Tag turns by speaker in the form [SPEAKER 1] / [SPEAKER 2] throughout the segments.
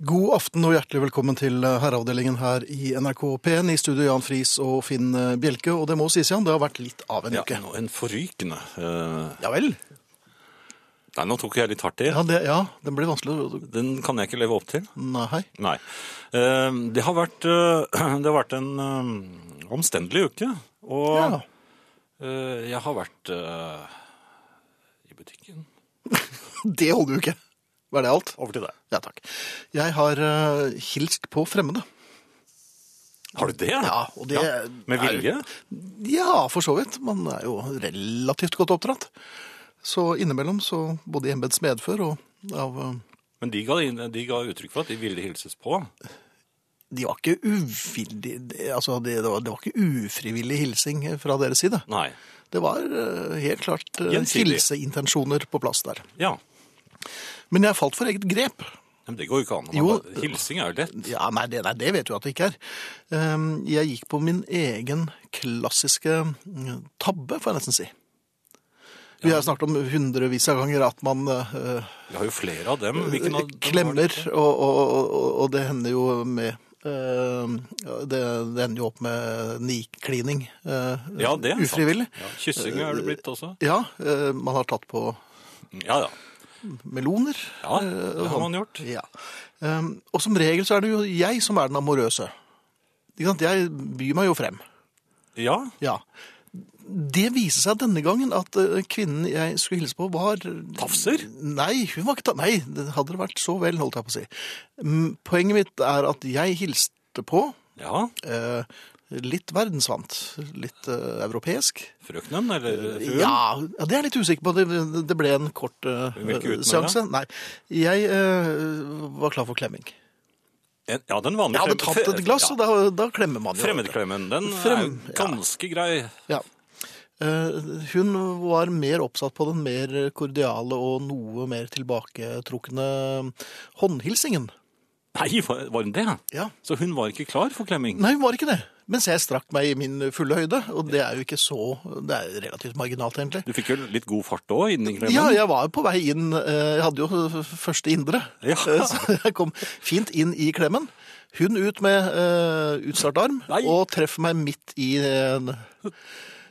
[SPEAKER 1] God aften og hjertelig velkommen til eh, herreavdelingen her i NRK P1. I studio Jan Friis og Finn eh, Bjelke. Og det må sies, Jan, det har vært litt av en
[SPEAKER 2] Ja,
[SPEAKER 1] uke.
[SPEAKER 2] en forrykende eh,
[SPEAKER 1] Ja vel?
[SPEAKER 2] Nei, nå tok jeg litt hardt i.
[SPEAKER 1] Ja, det, ja, den blir vanskelig å
[SPEAKER 2] Den kan jeg ikke leve opp til.
[SPEAKER 1] Nei.
[SPEAKER 2] Nei. Eh, Det har vært, eh, det har vært en eh, omstendelig uke. Og
[SPEAKER 1] Ja.
[SPEAKER 2] eh, jeg har vært eh, i butikken.
[SPEAKER 1] Det holder jo ikke. Var det alt?
[SPEAKER 2] Over til deg.
[SPEAKER 1] Ja takk. Jeg har eh, hilst på fremmede.
[SPEAKER 2] Har du det?
[SPEAKER 1] Ja, og det
[SPEAKER 2] Ja, Med
[SPEAKER 1] er-
[SPEAKER 2] vilje?
[SPEAKER 1] Ja, for så vidt. Man er jo relativt godt oppdratt. Så innimellom så både i embets medfør og av eh,
[SPEAKER 2] Men de ga, inn- de ga uttrykk for at de ville hilses på.
[SPEAKER 1] De var ikke uvillig, det- altså det, det, var, det var ikke ufrivillig hilsing fra deres side.
[SPEAKER 2] Nei.
[SPEAKER 1] Det var eh, helt klart eh,
[SPEAKER 2] Gjensidig.
[SPEAKER 1] hilseintensjoner på plass der.
[SPEAKER 2] Ja.
[SPEAKER 1] Men jeg falt for eget grep.
[SPEAKER 2] Men det går jo ikke an. Man
[SPEAKER 1] Jo.
[SPEAKER 2] bare- Hilsing er jo lett.
[SPEAKER 1] Ja, nei, det, nei, det vet du at det ikke er. Ehm, Jeg gikk på min egen klassiske mm, tabbe, får jeg nesten si. Vi har snakket om hundrevis av ganger at man eh,
[SPEAKER 2] Vi har jo flere av dem. Hvilken av dem var det?
[SPEAKER 1] klemmer, og, og, og, og det hender jo med eh, det, det ender jo opp med niklining eh,
[SPEAKER 2] Ja, det er sant.
[SPEAKER 1] ufrivillig.
[SPEAKER 2] Ja, Kyssing er det blitt også.
[SPEAKER 1] Ja, eh, man har tatt på
[SPEAKER 2] Ja, ja.
[SPEAKER 1] meloner.
[SPEAKER 2] Ja,
[SPEAKER 1] eh, og
[SPEAKER 2] det har
[SPEAKER 1] sånn.
[SPEAKER 2] man gjort.
[SPEAKER 1] Ja. Ehm, og som regel så er det jo jeg som er den amorøse. Ikke sant? Jeg byr meg jo frem.
[SPEAKER 2] Ja,
[SPEAKER 1] Ja. Det viser seg denne gangen at eh, kvinnen jeg skulle hilse på, var
[SPEAKER 2] Tafser?
[SPEAKER 1] Nei, hun var ikke ta... Nei, det hadde det vært så vel, holdt jeg på å si. Mm, Poenget mitt er at jeg hilste på
[SPEAKER 2] ja.
[SPEAKER 1] eh, litt verdensvant, litt eh, europeisk.
[SPEAKER 2] Frøknen eller fruen?
[SPEAKER 1] Eh, Ja, ja, det er jeg litt usikker på. Det, det ble en kort eh,
[SPEAKER 2] vil ikke utmelde
[SPEAKER 1] seanse. Nei, jeg eh, var klar for klemming.
[SPEAKER 2] En- ja, den vanlige
[SPEAKER 1] Jeg hadde
[SPEAKER 2] frem-
[SPEAKER 1] tatt et glass, og
[SPEAKER 2] ja.
[SPEAKER 1] da, da klemmer man jo.
[SPEAKER 2] Fremmedklemmen, den
[SPEAKER 1] Frem-
[SPEAKER 2] er jo ganske grei.
[SPEAKER 1] Ja. Eh, Hun var mer oppsatt på den mer kordiale og noe mer tilbaketrukne håndhilsingen.
[SPEAKER 2] Nei, var var den det?
[SPEAKER 1] Ja.
[SPEAKER 2] Så hun var ikke klar for klemming?
[SPEAKER 1] Nei, hun var ikke det. Mens jeg strakk meg i min fulle høyde, og det er jo ikke så Det er jo relativt marginalt, egentlig.
[SPEAKER 2] Du fikk jo litt god fart òg inni klemmen?
[SPEAKER 1] Ja, jeg var jo på vei inn. eh, Jeg hadde jo f- første indre.
[SPEAKER 2] Ja.
[SPEAKER 1] Eh, Så jeg kom fint inn i klemmen. Hun ut med eh, utstrakt arm
[SPEAKER 2] Nei.
[SPEAKER 1] og treffer meg midt i eh,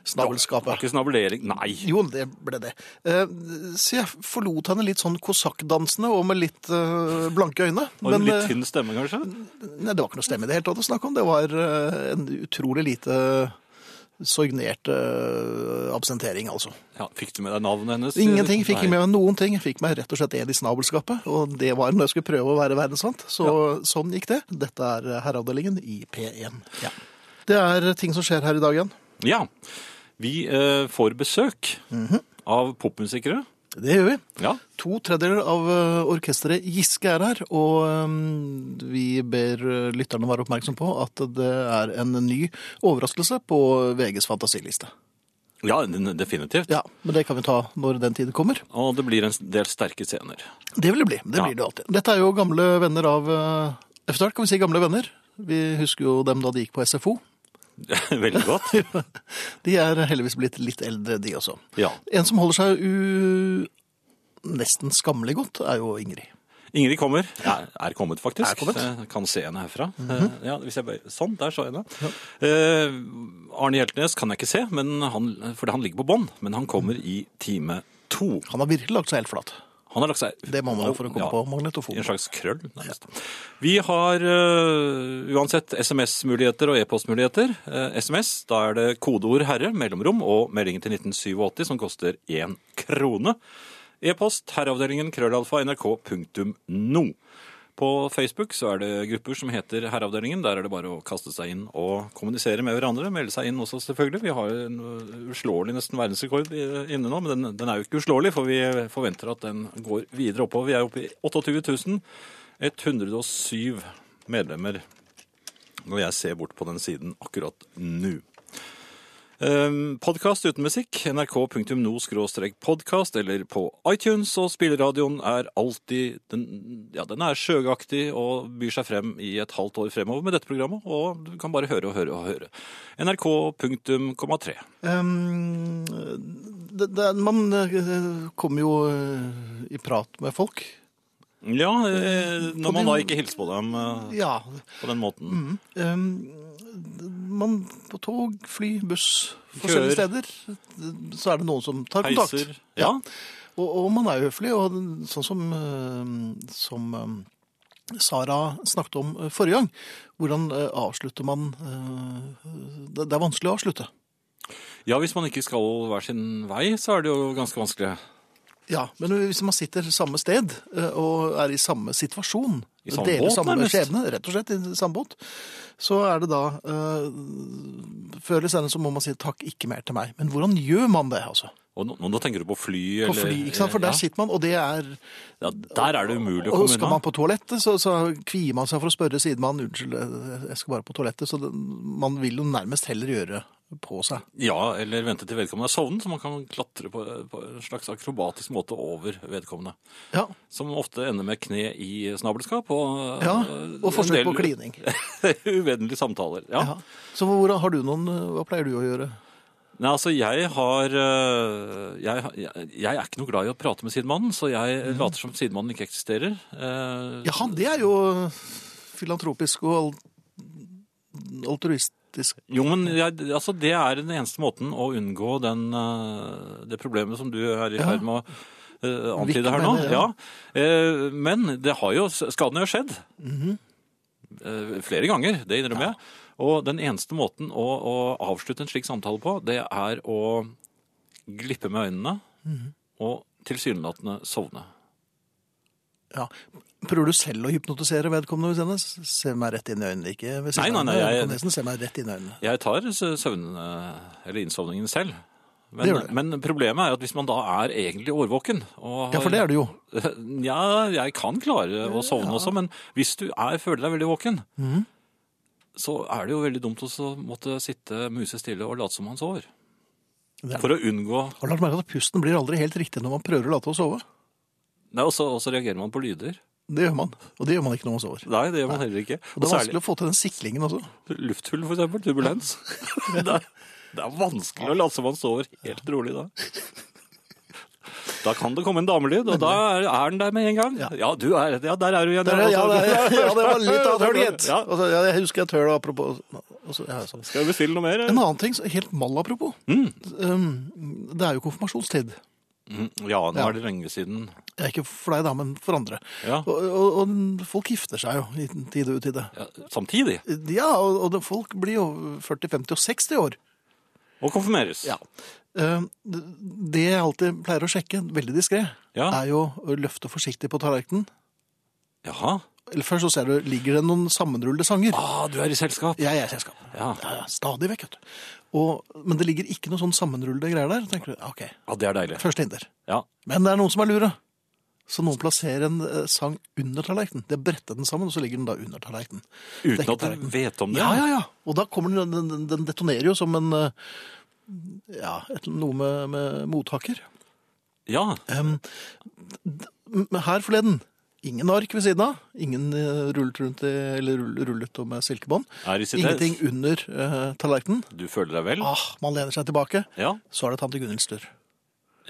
[SPEAKER 2] Det var
[SPEAKER 1] snabelskapet.
[SPEAKER 2] Ikke snabulering Nei.
[SPEAKER 1] Jo, det ble det. Eh, Så jeg forlot henne litt sånn kosakkdansende og med litt eh, blanke øyne.
[SPEAKER 2] Og en litt
[SPEAKER 1] eh,
[SPEAKER 2] tynn stemme, kanskje?
[SPEAKER 1] nei, det var ikke noe stemme i det hele tatt å snakke om. Det var eh, en utrolig lite eh, soignert eh, absentering, altså.
[SPEAKER 2] Ja, fikk du med deg navnet hennes?
[SPEAKER 1] Ingenting. Fikk ikke
[SPEAKER 2] Nei.
[SPEAKER 1] med meg noen ting. Jeg Fikk meg rett og slett ed i snabelskapet. Og det var når jeg skulle prøve å være verdensvant. Så sånn gikk det. Dette er eh, Herreavdelingen i P1. Ja. Det er ting som skjer her i dag igjen.
[SPEAKER 2] Ja. Vi eh, får besøk
[SPEAKER 1] Mhm.
[SPEAKER 2] av popmusikere.
[SPEAKER 1] Det gjør vi.
[SPEAKER 2] Ja.
[SPEAKER 1] To tredjedeler av eh, orkesteret Giske er her, og eh, vi ber eh, lytterne være oppmerksom på at det er en ny overraskelse på VGs fantasiliste.
[SPEAKER 2] ja, den- definitivt.
[SPEAKER 1] Ja, men det kan vi ta når den tid kommer.
[SPEAKER 2] Og det blir en del sterke scener.
[SPEAKER 1] Det vil det bli. Det
[SPEAKER 2] Ja.
[SPEAKER 1] blir det alltid. Dette er jo gamle venner av eh, Efter hvert kan vi si gamle venner. Vi husker jo dem da de gikk på SFO.
[SPEAKER 2] Veldig godt.
[SPEAKER 1] de er heldigvis blitt litt eldre, de også.
[SPEAKER 2] Ja.
[SPEAKER 1] En som holder seg u... nesten skammelig godt, er jo Ingrid.
[SPEAKER 2] Ingrid kommer. Er, er kommet, faktisk.
[SPEAKER 1] Er kommet.
[SPEAKER 2] Jeg kan se henne herfra. Eh, ja, hvis jeg bare, sånn, der så jeg henne. Eh, Arne Hjeltnes kan jeg ikke se, men han, for han ligger på bånn. Men han kommer i time to.
[SPEAKER 1] Han har virkelig lagt seg helt flat.
[SPEAKER 2] Han har lagt seg
[SPEAKER 1] Det må man jo for å komme
[SPEAKER 2] Ja,
[SPEAKER 1] på
[SPEAKER 2] i en
[SPEAKER 1] magnetofon.
[SPEAKER 2] slags krøll, nærmest. Vi har eh, uansett SMS-muligheter og e-postmuligheter. Eh, SMS, da er det kodeord 'herre', mellomrom og meldingen til 1987 som koster én krone. E-post herreavdelingen krøllalfa nrk.no. På Facebook så er det grupper som heter Herreavdelingen. Der er det bare å kaste seg inn og kommunisere med hverandre. Melde seg inn også, selvfølgelig. Vi har en øh, uslåelig nesten verdensrekord i- inne nå, men den, den er jo ikke uslåelig, for vi forventer at den går videre oppover. Vi er oppe i 28 107 medlemmer når jeg ser bort på den siden akkurat nå. Podkast Ehm, uten musikk, nrk.no-podkast eller på iTunes, og spilleradioen er alltid den, ja, den er sjøgaktig og byr seg frem i et halvt år fremover med dette programmet, og du kan bare høre og høre og høre. nrk.3.
[SPEAKER 1] Um, det, det, man eh, kommer jo eh, i prat med folk.
[SPEAKER 2] Ja, eh, når man da ikke hilser på Mhm, dem eh,
[SPEAKER 1] Ja.
[SPEAKER 2] på den måten.
[SPEAKER 1] Mm. Um, man på tog, fly, buss, forskjellige
[SPEAKER 2] Kjører.
[SPEAKER 1] steder, så er det noen som tar kontakt.
[SPEAKER 2] Heiser. Ja.
[SPEAKER 1] Og, og man er jo høflig, og sånn som, eh, som eh, Sara snakket om eh, forrige gang, hvordan eh, avslutter man eh, Det det er vanskelig å avslutte.
[SPEAKER 2] ja, hvis man ikke skal hver sin vei, så er det jo ganske vanskelig.
[SPEAKER 1] Ja, Men hvis man sitter samme sted eh, og er i samme situasjon,
[SPEAKER 2] I samme
[SPEAKER 1] deler
[SPEAKER 2] båt,
[SPEAKER 1] samme
[SPEAKER 2] nærmest.
[SPEAKER 1] skjebne, rett og slett i samme båt, så er det da eh, Før eller senere så må man si takk, ikke mer til meg. Men hvordan gjør man det, altså?
[SPEAKER 2] Og nå, nå tenker du på fly
[SPEAKER 1] På
[SPEAKER 2] eller
[SPEAKER 1] fly, ikke sant? For der
[SPEAKER 2] ja.
[SPEAKER 1] sitter man, og det er
[SPEAKER 2] Ja, der er det umulig å
[SPEAKER 1] Og
[SPEAKER 2] komme
[SPEAKER 1] skal
[SPEAKER 2] unna.
[SPEAKER 1] man på toalettet, så, så kvier man seg for å spørre sidemannen unnskyld, eh, jeg- jeg skal bare på toalettet. Så det, man vil jo nærmest heller gjøre på seg.
[SPEAKER 2] Ja, eller vente til vedkommende er sovnet, så man kan klatre på, på en slags akrobatisk måte over vedkommende.
[SPEAKER 1] Ja,
[SPEAKER 2] Som ofte ender med kne i snabelskap og,
[SPEAKER 1] ja
[SPEAKER 2] eh,
[SPEAKER 1] Og forsøk
[SPEAKER 2] en
[SPEAKER 1] på
[SPEAKER 2] del
[SPEAKER 1] klining.
[SPEAKER 2] uvennlige samtaler. Ja.
[SPEAKER 1] Ja. Så hvordan, har du noen, hva pleier du å gjøre?
[SPEAKER 2] Nei, altså, jeg har eh, jeg, har- jeg, jeg er ikke noe glad i å prate med sidemannen, så jeg later som sidemannen ikke eksisterer. Eh,
[SPEAKER 1] Mhm. Ja, det er jo filantropisk og al- altruistisk.
[SPEAKER 2] Jo, men jeg, altså, det er den eneste måten å unngå den, eh, det problemet som du er i
[SPEAKER 1] Ja.
[SPEAKER 2] ferd med å eh,
[SPEAKER 1] Vikke
[SPEAKER 2] antyde her
[SPEAKER 1] med
[SPEAKER 2] nå.
[SPEAKER 1] det,
[SPEAKER 2] ja.
[SPEAKER 1] ja.
[SPEAKER 2] Eh, men det har jo, skaden har jo skjedd.
[SPEAKER 1] Mhm.
[SPEAKER 2] Eh, flere ganger, det innrømmer jeg. Og den eneste måten å, å avslutte en slik samtale på, det er å glippe med øynene
[SPEAKER 1] Mhm.
[SPEAKER 2] og tilsynelatende sovne.
[SPEAKER 1] Ja. Prøver du selv å hypnotisere vedkommende ved siden av? Se meg rett inn i øynene, ikke ved
[SPEAKER 2] Nei,
[SPEAKER 1] siden
[SPEAKER 2] nei,
[SPEAKER 1] av
[SPEAKER 2] nei,
[SPEAKER 1] meg,
[SPEAKER 2] jeg-
[SPEAKER 1] på nesen, Se meg rett inn i øynene.
[SPEAKER 2] Jeg tar s- søvn, eh, eller innsovningen selv. Men,
[SPEAKER 1] Det gjør du.
[SPEAKER 2] men problemet er at hvis man da er egentlig årvåken og
[SPEAKER 1] Ja, for det er du jo.
[SPEAKER 2] Ja, jeg kan klare å sovne også, men hvis du er, føler deg veldig våken,
[SPEAKER 1] Mm.
[SPEAKER 2] så er det jo veldig dumt å måtte sitte musestille og late som man sover.
[SPEAKER 1] Det er det.
[SPEAKER 2] For å unngå
[SPEAKER 1] Har du lagt merke til at pusten blir aldri helt riktig når man prøver å late å sove?
[SPEAKER 2] Nei, og så og så reagerer man på lyder.
[SPEAKER 1] Det gjør man. Og det gjør man ikke når man sover.
[SPEAKER 2] Nei, det gjør man heller ikke.
[SPEAKER 1] Og
[SPEAKER 2] Og
[SPEAKER 1] det er
[SPEAKER 2] særlig
[SPEAKER 1] vanskelig å få til den siklingen også.
[SPEAKER 2] lufthull, for eksempel. Turbulens. det, er, det er vanskelig å late som man sover helt rolig da. Da kan det komme en damelyd, og da er, er den der med en gang. Ja,
[SPEAKER 1] Ja.
[SPEAKER 2] du er, ja der er du igjen.
[SPEAKER 1] Der, ja, ja, det, ja, det var litt av tørt, gitt.
[SPEAKER 2] Ja.
[SPEAKER 1] Altså, ja, jeg husker jeg tør det apropos og så- ja, sånn.
[SPEAKER 2] Skal jeg bestille noe mer?
[SPEAKER 1] En annen ting, så helt mal apropos, um, det er jo konfirmasjonstid.
[SPEAKER 2] Mm, Ja, nå er det lenge siden.
[SPEAKER 1] Ja, ikke for deg da, men for andre.
[SPEAKER 2] Ja.
[SPEAKER 1] Og, og, og folk gifter seg jo i tide og utide.
[SPEAKER 2] Ja, samtidig.
[SPEAKER 1] Ja, og, og det- folk blir jo 40, 50 og 60 år.
[SPEAKER 2] Og konfirmeres.
[SPEAKER 1] Ja. Eh, Det det jeg alltid pleier å sjekke, veldig diskré,
[SPEAKER 2] Ja.
[SPEAKER 1] er jo å løfte forsiktig på tallerkenen.
[SPEAKER 2] Jaha.
[SPEAKER 1] Eller først så ser du, ligger det noen sammenrullede sanger.
[SPEAKER 2] Ah, du er i selskap.
[SPEAKER 1] Jeg er i selskap.
[SPEAKER 2] Ja.
[SPEAKER 1] Ja, ja, stadig vekk, vet du. Og, men det ligger ikke noen sånn sammenrullede greier der. tenker du, ok,
[SPEAKER 2] Ja, det er deilig.
[SPEAKER 1] første hinder.
[SPEAKER 2] Ja.
[SPEAKER 1] Men det er noen som er lure. Så noen plasserer en eh, sang under tallerkenen. De har brettet den sammen, og så ligger den da under tallerkenen.
[SPEAKER 2] Uten
[SPEAKER 1] Dekket
[SPEAKER 2] at du
[SPEAKER 1] tallerkenen.
[SPEAKER 2] vet om det.
[SPEAKER 1] Ja, ja, ja. Og da kommer den, den- den, den detonerer jo som en eh, Ja, et, noe med, med mottaker.
[SPEAKER 2] Ja.
[SPEAKER 1] Em, d- men her forleden, ingen ark ved siden av, ingen eh, rullet rundt i, eller rull- rullet om med silkebånd,
[SPEAKER 2] Er i sitt
[SPEAKER 1] ingenting under eh, tallerkenen.
[SPEAKER 2] Du føler deg vel?
[SPEAKER 1] Ah, man lener seg tilbake,
[SPEAKER 2] Ja.
[SPEAKER 1] så er det tante Gunnhild Sturr.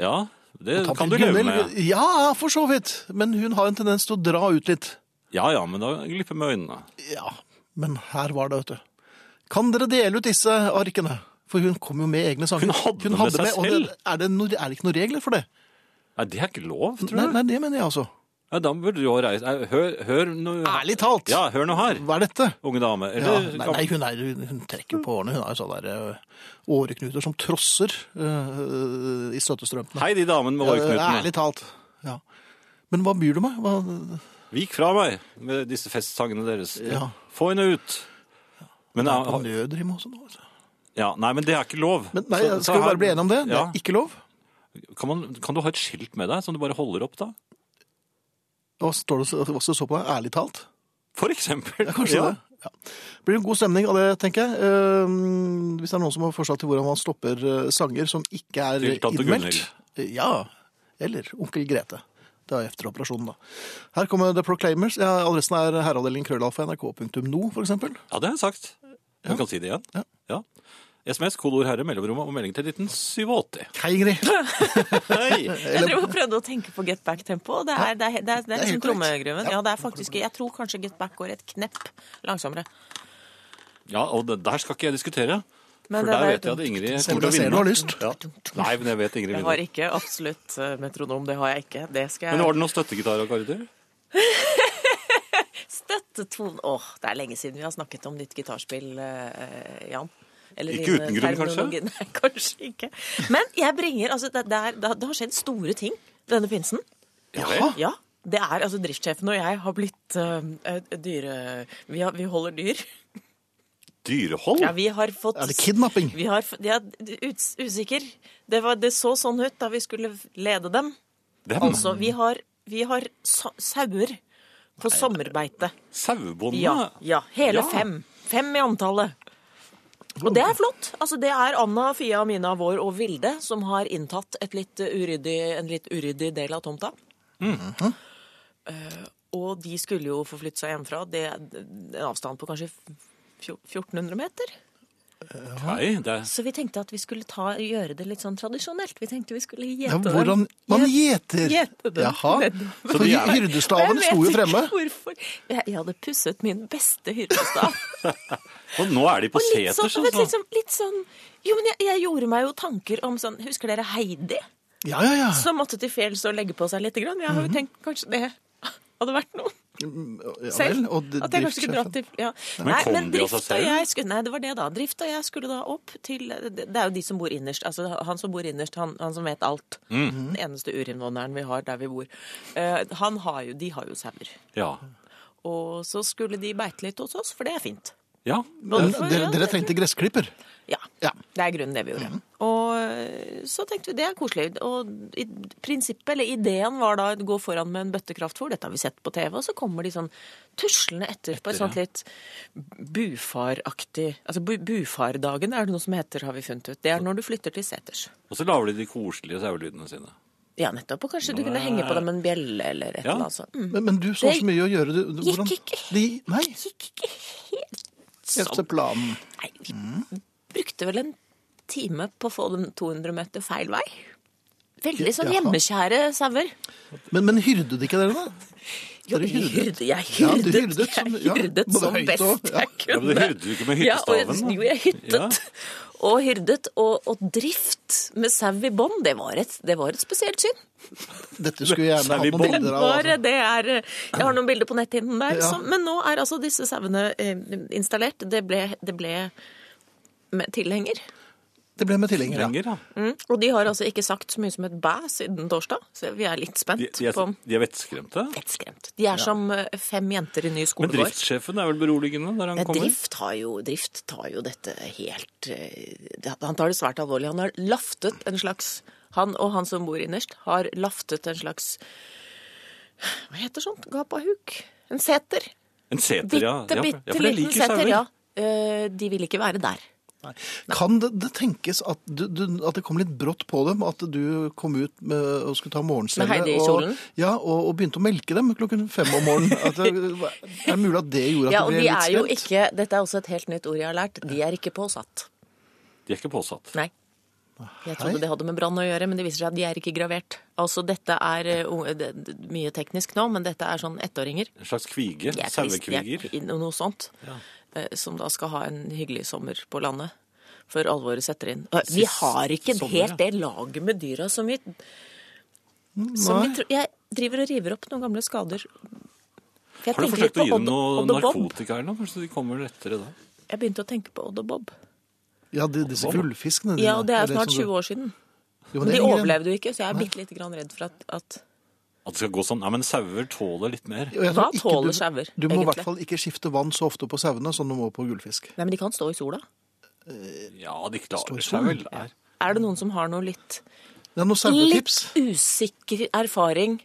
[SPEAKER 2] Ja. Det
[SPEAKER 1] Tante
[SPEAKER 2] kan du leve
[SPEAKER 1] Gunhild-
[SPEAKER 2] med.
[SPEAKER 1] Ja, for så vidt. Men hun har en tendens til å dra ut litt.
[SPEAKER 2] Ja, ja, men da glipper med øynene.
[SPEAKER 1] Ja, men her var det, vet du. Kan dere dele ut disse arkene? For hun kom jo med egne sanger.
[SPEAKER 2] Hun hadde med seg
[SPEAKER 1] og det, er, det no, er det ikke noen regler for det?
[SPEAKER 2] Nei, det er ikke lov, tror
[SPEAKER 1] Nei,
[SPEAKER 2] jeg.
[SPEAKER 1] nei, det mener jeg altså.
[SPEAKER 2] Ja, da burde du jo reise Nei, Hør, hør nå
[SPEAKER 1] Ærlig talt!
[SPEAKER 2] Ja, hør nå her,
[SPEAKER 1] Hva er dette?
[SPEAKER 2] unge dame.
[SPEAKER 1] Ja,
[SPEAKER 2] Eller
[SPEAKER 1] nei, nei, hun, er, hun, hun trekker jo på årene. Hun har jo sånne der, ø, åreknuter som trosser ø, i støttestrømpene.
[SPEAKER 2] Hei, de damene med hårknutene.
[SPEAKER 1] ærlig talt. Ja. Men hva byr du meg? Hva,
[SPEAKER 2] Vik fra meg med disse festsangene deres.
[SPEAKER 1] Ja.
[SPEAKER 2] Få henne ut. Men, eh,
[SPEAKER 1] på
[SPEAKER 2] ja,
[SPEAKER 1] nødrim også nå? altså.
[SPEAKER 2] ja, nei, men det er ikke lov.
[SPEAKER 1] Men nei,
[SPEAKER 2] Så- så
[SPEAKER 1] Skal vi
[SPEAKER 2] her-
[SPEAKER 1] bare bli enige om det? Det
[SPEAKER 2] Ja.
[SPEAKER 1] er ikke lov.
[SPEAKER 2] Kan, man, kan du ha et skilt med deg som du bare holder opp, da?
[SPEAKER 1] Hva står det hva står det så på deg? Ærlig talt?
[SPEAKER 2] For eksempel.
[SPEAKER 1] Ja, kanskje
[SPEAKER 2] Ja.
[SPEAKER 1] det. Ja. Blir det god stemning av det, tenker jeg. Eh, hvis det er noen som har forslag til hvordan man stopper eh, sanger som ikke er
[SPEAKER 2] Til tante
[SPEAKER 1] innmeldt. Eh, Ja, eller onkel Grete. Det er efter operasjonen, da. Her kommer The Proclaimers. Ja, adressen er herreavdelingen krøllalfa nrk.no, for eksempel.
[SPEAKER 2] Ja, det har jeg sagt. Du kan si det igjen.
[SPEAKER 1] Ja.
[SPEAKER 2] Ja. SMS, kodeord herre, mellomrommet og melding til 1987.
[SPEAKER 1] Hei, Ingrid.
[SPEAKER 2] Hei!
[SPEAKER 1] Eller-
[SPEAKER 3] Jeg drev og prøvde å tenke på Get Back-tempo. og Det er, det er, det er, det er
[SPEAKER 1] helt
[SPEAKER 3] liksom
[SPEAKER 1] korrekt.
[SPEAKER 3] trommegruven. Ja, det er faktisk, jeg tror kanskje Get Back går et knepp langsommere.
[SPEAKER 2] Ja, og det, der skal ikke jeg diskutere.
[SPEAKER 3] Men
[SPEAKER 2] for
[SPEAKER 3] det
[SPEAKER 2] der
[SPEAKER 3] var-
[SPEAKER 2] vet jeg at Ingrid
[SPEAKER 1] Selv
[SPEAKER 2] kommer
[SPEAKER 1] om
[SPEAKER 2] til å
[SPEAKER 1] jeg ser
[SPEAKER 2] vinne.
[SPEAKER 1] du har lyst.
[SPEAKER 2] Ja. Nei, men jeg vet Ingrid
[SPEAKER 3] Jeg
[SPEAKER 2] vinner.
[SPEAKER 3] har ikke absolutt eh, metronom, det har jeg ikke. Det skal
[SPEAKER 2] Men
[SPEAKER 3] jeg
[SPEAKER 2] var det noen støttegitarer og akkorder?
[SPEAKER 3] Støtteton. Åh, det er lenge siden vi har snakket om ditt gitarspill, eh, Jan. Eller
[SPEAKER 2] Ikke
[SPEAKER 3] din eh,
[SPEAKER 2] uten grunn, kanskje?
[SPEAKER 3] terminologi. Nei, kanskje ikke. Men jeg bringer altså, det, det, er, det, har- det har skjedd store ting denne pinsen.
[SPEAKER 1] Jaha.
[SPEAKER 3] Ja. Det er altså driftssjefen og jeg har blitt eh, eh, dyre... Vi, har, vi holder dyr.
[SPEAKER 2] Dyrehold?
[SPEAKER 3] Ja, vi har fått
[SPEAKER 1] Oh. Er det kidnapping?
[SPEAKER 3] Vi har, f- ja, uts- usikker. Det, var, det så sånn ut da vi skulle lede dem.
[SPEAKER 2] Dem?
[SPEAKER 3] Altså, vi har, vi har sa- sauer på sommerbeite.
[SPEAKER 2] Sauebondene?
[SPEAKER 3] Ja, ja. Hele
[SPEAKER 2] Ja.
[SPEAKER 3] fem. Fem i antallet. Og det er flott. Altså, det er Anna, Fia, Mina, vår og Vilde som har inntatt et litt eh, uryddig, en litt uryddig del av tomta.
[SPEAKER 1] Mhm.
[SPEAKER 3] Eh, og de skulle jo få flytte seg hjemmefra. Det er en avstand på kanskje fjo- 1400 meter.
[SPEAKER 2] Nei, det er
[SPEAKER 3] Så vi tenkte at vi skulle ta, gjøre det litt sånn tradisjonelt. Vi tenkte vi skulle gjete
[SPEAKER 1] Ja, hvordan man gjeter.
[SPEAKER 3] Gjete den.
[SPEAKER 1] Jaha.
[SPEAKER 3] Nedover.
[SPEAKER 1] For
[SPEAKER 2] de er-
[SPEAKER 1] hyrdestaven sto jo fremme.
[SPEAKER 3] Jeg vet ikke hvorfor. Jeg, jeg hadde pusset min beste hyrdestav.
[SPEAKER 2] Og nå er de på
[SPEAKER 3] Og litt sånn,
[SPEAKER 2] seters,
[SPEAKER 3] vet,
[SPEAKER 2] altså.
[SPEAKER 3] litt sånn, litt sånn Jo, men jeg, jeg gjorde meg jo tanker om sånn Husker dere Heidi?
[SPEAKER 1] Ja, ja, ja.
[SPEAKER 3] Som måtte til fjells og legge på seg litt. Grann. Jeg har
[SPEAKER 1] Mhm.
[SPEAKER 3] jo tenkt kanskje det hadde vært noe
[SPEAKER 1] ja
[SPEAKER 3] selv.
[SPEAKER 1] vel, og d-
[SPEAKER 3] at jeg kanskje
[SPEAKER 1] driftssjefen.
[SPEAKER 3] skulle dratt til ja.
[SPEAKER 2] Men kom de av
[SPEAKER 3] drift
[SPEAKER 2] seg selv?
[SPEAKER 3] og jeg skulle, Nei, det var det, da. Drift og jeg skulle da opp til Det det er jo de som bor innerst. Altså han som bor innerst, han, han som vet alt.
[SPEAKER 2] Mm.
[SPEAKER 3] Den eneste urinnvåneren vi har der vi bor. Eh, han har jo De har jo sauer.
[SPEAKER 2] Ja.
[SPEAKER 3] Og så skulle de beite litt hos oss, for det er fint.
[SPEAKER 2] ja.
[SPEAKER 1] Men
[SPEAKER 3] Hvorfor
[SPEAKER 1] dere,
[SPEAKER 3] gjør
[SPEAKER 1] dere
[SPEAKER 3] det?
[SPEAKER 1] trengte gressklipper.
[SPEAKER 3] Ja.
[SPEAKER 1] Ja.
[SPEAKER 3] Det er grunnen det vi
[SPEAKER 2] Mm.
[SPEAKER 3] gjorde. Og øh, så tenkte vi det er koselig. Og i prinsippet, eller ideen var da å gå foran med en bøtte kraftfôr. Dette har vi sett på TV. Og så kommer de sånn tuslende etter, på
[SPEAKER 2] Etter,
[SPEAKER 3] et sånt litt bufaraktig Altså bu bufardagen er det noe som heter, har vi funnet ut. Det er når du flytter til seters.
[SPEAKER 2] Og så lager de de koselige sauelydene sine.
[SPEAKER 3] Ja, nettopp. Og kanskje du kunne henge på dem en bjelle eller et
[SPEAKER 2] Ja.
[SPEAKER 3] eller annet sånt. Mm.
[SPEAKER 1] Men, men du så
[SPEAKER 3] Det
[SPEAKER 1] så mye å gjøre. Du, du-
[SPEAKER 3] gikk
[SPEAKER 1] hvordan-
[SPEAKER 3] ikke. Sånn.
[SPEAKER 1] De, nei,
[SPEAKER 3] Gikk ikke helt
[SPEAKER 1] etter planen.
[SPEAKER 3] Nei, vi
[SPEAKER 2] Mm.
[SPEAKER 3] brukte vel en time på å få dem 200 meter feil vei. Veldig sånn
[SPEAKER 1] Jaha.
[SPEAKER 3] hjemmekjære sauer.
[SPEAKER 1] Men, men hyrdet ikke dere, da?
[SPEAKER 3] Jo,
[SPEAKER 1] Dere
[SPEAKER 3] jeg hyrdet, jeg
[SPEAKER 1] Ja,
[SPEAKER 3] hyrdet,
[SPEAKER 1] du hyrdet
[SPEAKER 3] jeg
[SPEAKER 1] som- ja,
[SPEAKER 3] hyrdet
[SPEAKER 1] både
[SPEAKER 3] som
[SPEAKER 1] høyt
[SPEAKER 3] best
[SPEAKER 1] og- ja.
[SPEAKER 3] jeg
[SPEAKER 2] Ja,
[SPEAKER 3] kunne.
[SPEAKER 2] men du hyrdet jo ikke med
[SPEAKER 3] Ja,
[SPEAKER 2] hyttestaven,
[SPEAKER 3] og,
[SPEAKER 2] da.
[SPEAKER 3] jo, jeg hyrdet og hyrdet, og, og drift med sau i bånd, det, var et- det var et spesielt syn.
[SPEAKER 1] Dette skulle jeg
[SPEAKER 2] Nei,
[SPEAKER 1] gjerne
[SPEAKER 2] vi
[SPEAKER 1] hatt noen
[SPEAKER 2] bomber.
[SPEAKER 1] bilder av.
[SPEAKER 3] Bare
[SPEAKER 1] Altså.
[SPEAKER 3] det er, jeg har noen bilder på netthinnen der.
[SPEAKER 1] Ja.
[SPEAKER 3] som- men nå er altså disse sauene eh, installert. Det ble, det ble med tilhenger.
[SPEAKER 1] Det ble med tilhenger, ja.
[SPEAKER 2] Lenger, ja.
[SPEAKER 3] Mm. Og de har altså ikke sagt så mye som et bæ siden torsdag, så vi er litt spent
[SPEAKER 2] De, de,
[SPEAKER 3] på
[SPEAKER 2] er, de er vettskremte.
[SPEAKER 3] vettskremt. De er som eh, fem jenter i ny
[SPEAKER 2] Men
[SPEAKER 3] skolegård.
[SPEAKER 2] driftssjefen er vel beroligende der han
[SPEAKER 3] Nei,
[SPEAKER 2] kommer?
[SPEAKER 3] drift, har jo, drift tar jo dette helt eh, det- Han tar det svært alvorlig. Han har laftet en slags Han og han som bor innerst, har laftet en slags Hva heter sånt? Gapahuk? En seter?
[SPEAKER 2] En seter, ja.
[SPEAKER 3] Bitte,
[SPEAKER 2] Ja, for- ja,
[SPEAKER 3] bitte
[SPEAKER 2] for jeg
[SPEAKER 3] liten
[SPEAKER 2] liker sauer.
[SPEAKER 3] seter, ja. Eh, De vil ikke være der.
[SPEAKER 1] Kan det, det tenkes at, du, du, at det kom litt brått på dem? At du kom ut med, og skulle ta morgenstelle?
[SPEAKER 3] Med Heidi i
[SPEAKER 1] og,
[SPEAKER 3] kjolen?
[SPEAKER 1] ja, og, og begynte å melke dem klokken fem om morgenen. At det, er det mulig at det gjorde at
[SPEAKER 3] Ja,
[SPEAKER 1] det
[SPEAKER 3] og
[SPEAKER 1] ble
[SPEAKER 3] de
[SPEAKER 1] litt
[SPEAKER 3] er jo
[SPEAKER 1] sent?
[SPEAKER 3] ikke Dette er også et helt nytt ord jeg har lært. De er ikke påsatt.
[SPEAKER 2] De er ikke påsatt.
[SPEAKER 3] Nei. Jeg trodde det hadde med brann å gjøre, men det viser seg at de er ikke gravert. Altså, dette er eh, unge- det- det- mye teknisk nå, men dette er sånn ettåringer.
[SPEAKER 2] En slags kvige.
[SPEAKER 3] Jeg er trist,
[SPEAKER 2] Sauekviger.
[SPEAKER 3] jeg- no- Noe sånt. Eh, Som da skal ha en hyggelig sommer på landet. Før alvoret setter inn. Og Vi
[SPEAKER 2] Sist
[SPEAKER 3] har ikke
[SPEAKER 2] sommer,
[SPEAKER 3] helt det laget med dyra som vi, som vi
[SPEAKER 1] Nei.
[SPEAKER 3] tro- Jeg driver og river opp noen gamle skader. For jeg
[SPEAKER 2] Har du
[SPEAKER 3] tenker litt
[SPEAKER 2] forsøkt å
[SPEAKER 3] på
[SPEAKER 2] gi dem
[SPEAKER 3] Odd-
[SPEAKER 2] noe
[SPEAKER 3] Odd og Bob.
[SPEAKER 2] narkotika eller noe? Kanskje de kommer lettere da?
[SPEAKER 3] Jeg begynte å tenke på Odd og Bob.
[SPEAKER 1] Ja, de, disse gullfiskene dine.
[SPEAKER 3] Ja, og det er
[SPEAKER 1] eller
[SPEAKER 3] snart
[SPEAKER 2] liksom
[SPEAKER 1] som
[SPEAKER 3] 20
[SPEAKER 1] du-
[SPEAKER 3] år siden.
[SPEAKER 1] Jo, men det
[SPEAKER 3] Men de
[SPEAKER 1] er lenge igjen.
[SPEAKER 3] overlevde jo ikke, så jeg er bitte lite grann redd for at, at
[SPEAKER 2] At det skal gå sånn? Nei, men sauer tåler litt mer.
[SPEAKER 1] Og jeg
[SPEAKER 3] Hva
[SPEAKER 1] tror ikke
[SPEAKER 3] tåler
[SPEAKER 1] du-
[SPEAKER 3] sauer,
[SPEAKER 1] Du må i hvert
[SPEAKER 3] egentlig?
[SPEAKER 1] fall ikke skifte vann så ofte på sauene som du må på gullfisk.
[SPEAKER 3] Nei, men de kan stå i sola.
[SPEAKER 2] Ja, de klarer
[SPEAKER 1] Står
[SPEAKER 2] seg vel.
[SPEAKER 1] solen.
[SPEAKER 2] Der.
[SPEAKER 3] Er det noen som har noe litt
[SPEAKER 1] Det er noen
[SPEAKER 3] litt
[SPEAKER 1] sauetips.
[SPEAKER 3] usikker erfaring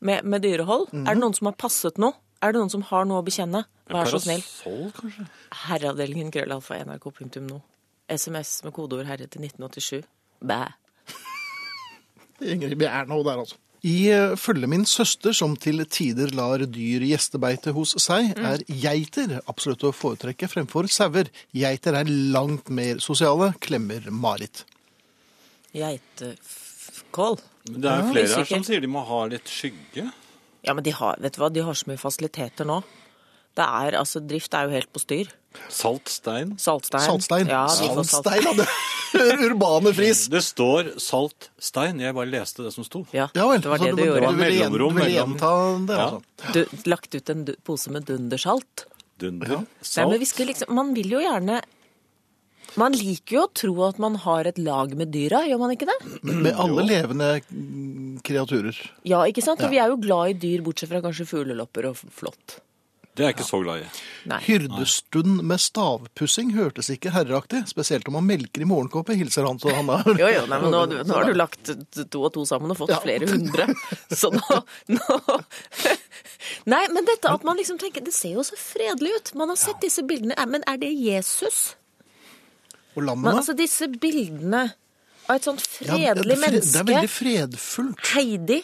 [SPEAKER 3] med, med dyrehold. Er
[SPEAKER 1] Mhm.
[SPEAKER 3] det noen som har passet noe? Er det noen som har noe å bekjenne? Vær så snill.
[SPEAKER 2] Parasoll, kanskje?
[SPEAKER 3] Herreavdelingen krøllalfa nrk.no. SMS med kodeord herre til 1987. Bæ.
[SPEAKER 1] Ingrid Bjerno der, altså. I eh, følge min søster, som til tider lar dyr gjestebeite hos seg,
[SPEAKER 3] Mm.
[SPEAKER 1] er geiter absolutt å foretrekke fremfor sauer. Geiter er langt mer sosiale, klemmer Marit.
[SPEAKER 3] Geitekål.
[SPEAKER 2] Men Det er flere her
[SPEAKER 3] usikker.
[SPEAKER 2] som sier de må ha litt skygge.
[SPEAKER 3] Ja, men de har, vet du hva, de har så mye fasiliteter nå. Det er, altså, Drift er jo helt på styr.
[SPEAKER 2] Salt stein.
[SPEAKER 3] Saltstein.
[SPEAKER 1] Saltstein.
[SPEAKER 3] Ja, de får salt.
[SPEAKER 1] Saltstein, ja. det- Urbane fris.
[SPEAKER 2] Det står salt stein. Jeg bare leste det som sto.
[SPEAKER 3] Ja,
[SPEAKER 1] Ja vel.
[SPEAKER 3] det var
[SPEAKER 1] så
[SPEAKER 3] det du gjorde.
[SPEAKER 1] Du ville, gjen-
[SPEAKER 2] Mellomrom
[SPEAKER 1] du ville
[SPEAKER 2] mellom-
[SPEAKER 1] gjenta det,
[SPEAKER 2] Ja.
[SPEAKER 1] altså.
[SPEAKER 3] Du lagt ut en du- pose med dundersalt.
[SPEAKER 2] Dunder.
[SPEAKER 3] Nei, men
[SPEAKER 2] Salt.
[SPEAKER 3] vi skulle liksom, man vil jo gjerne Man liker jo å tro at man har et lag med dyra, gjør man ikke det?
[SPEAKER 1] Med alle levende mm, kreaturer.
[SPEAKER 3] Ja, ikke sant? Og vi er jo glad i dyr, bortsett fra kanskje fuglelopper og flått.
[SPEAKER 2] Det er jeg ikke så glad i.
[SPEAKER 3] Nei.
[SPEAKER 1] Hyrdestund med stavpussing hørtes ikke herreaktig, spesielt om han melker i morgenkåpet, hilser han så han har
[SPEAKER 3] Jo, jo, nei, men nå, nå har du lagt to og to sammen og fått flere hundre. Så nå, nå Nei, men dette at man liksom tenker Det ser jo så fredelig ut. Man har sett disse bildene. Er- Men er det Jesus?
[SPEAKER 1] Og lammene?
[SPEAKER 3] Men altså, disse bildene av et sånt
[SPEAKER 1] Ja, det-
[SPEAKER 3] fredelig
[SPEAKER 1] det- Det er veldig
[SPEAKER 3] menneske,
[SPEAKER 1] fredfullt.
[SPEAKER 3] Heidi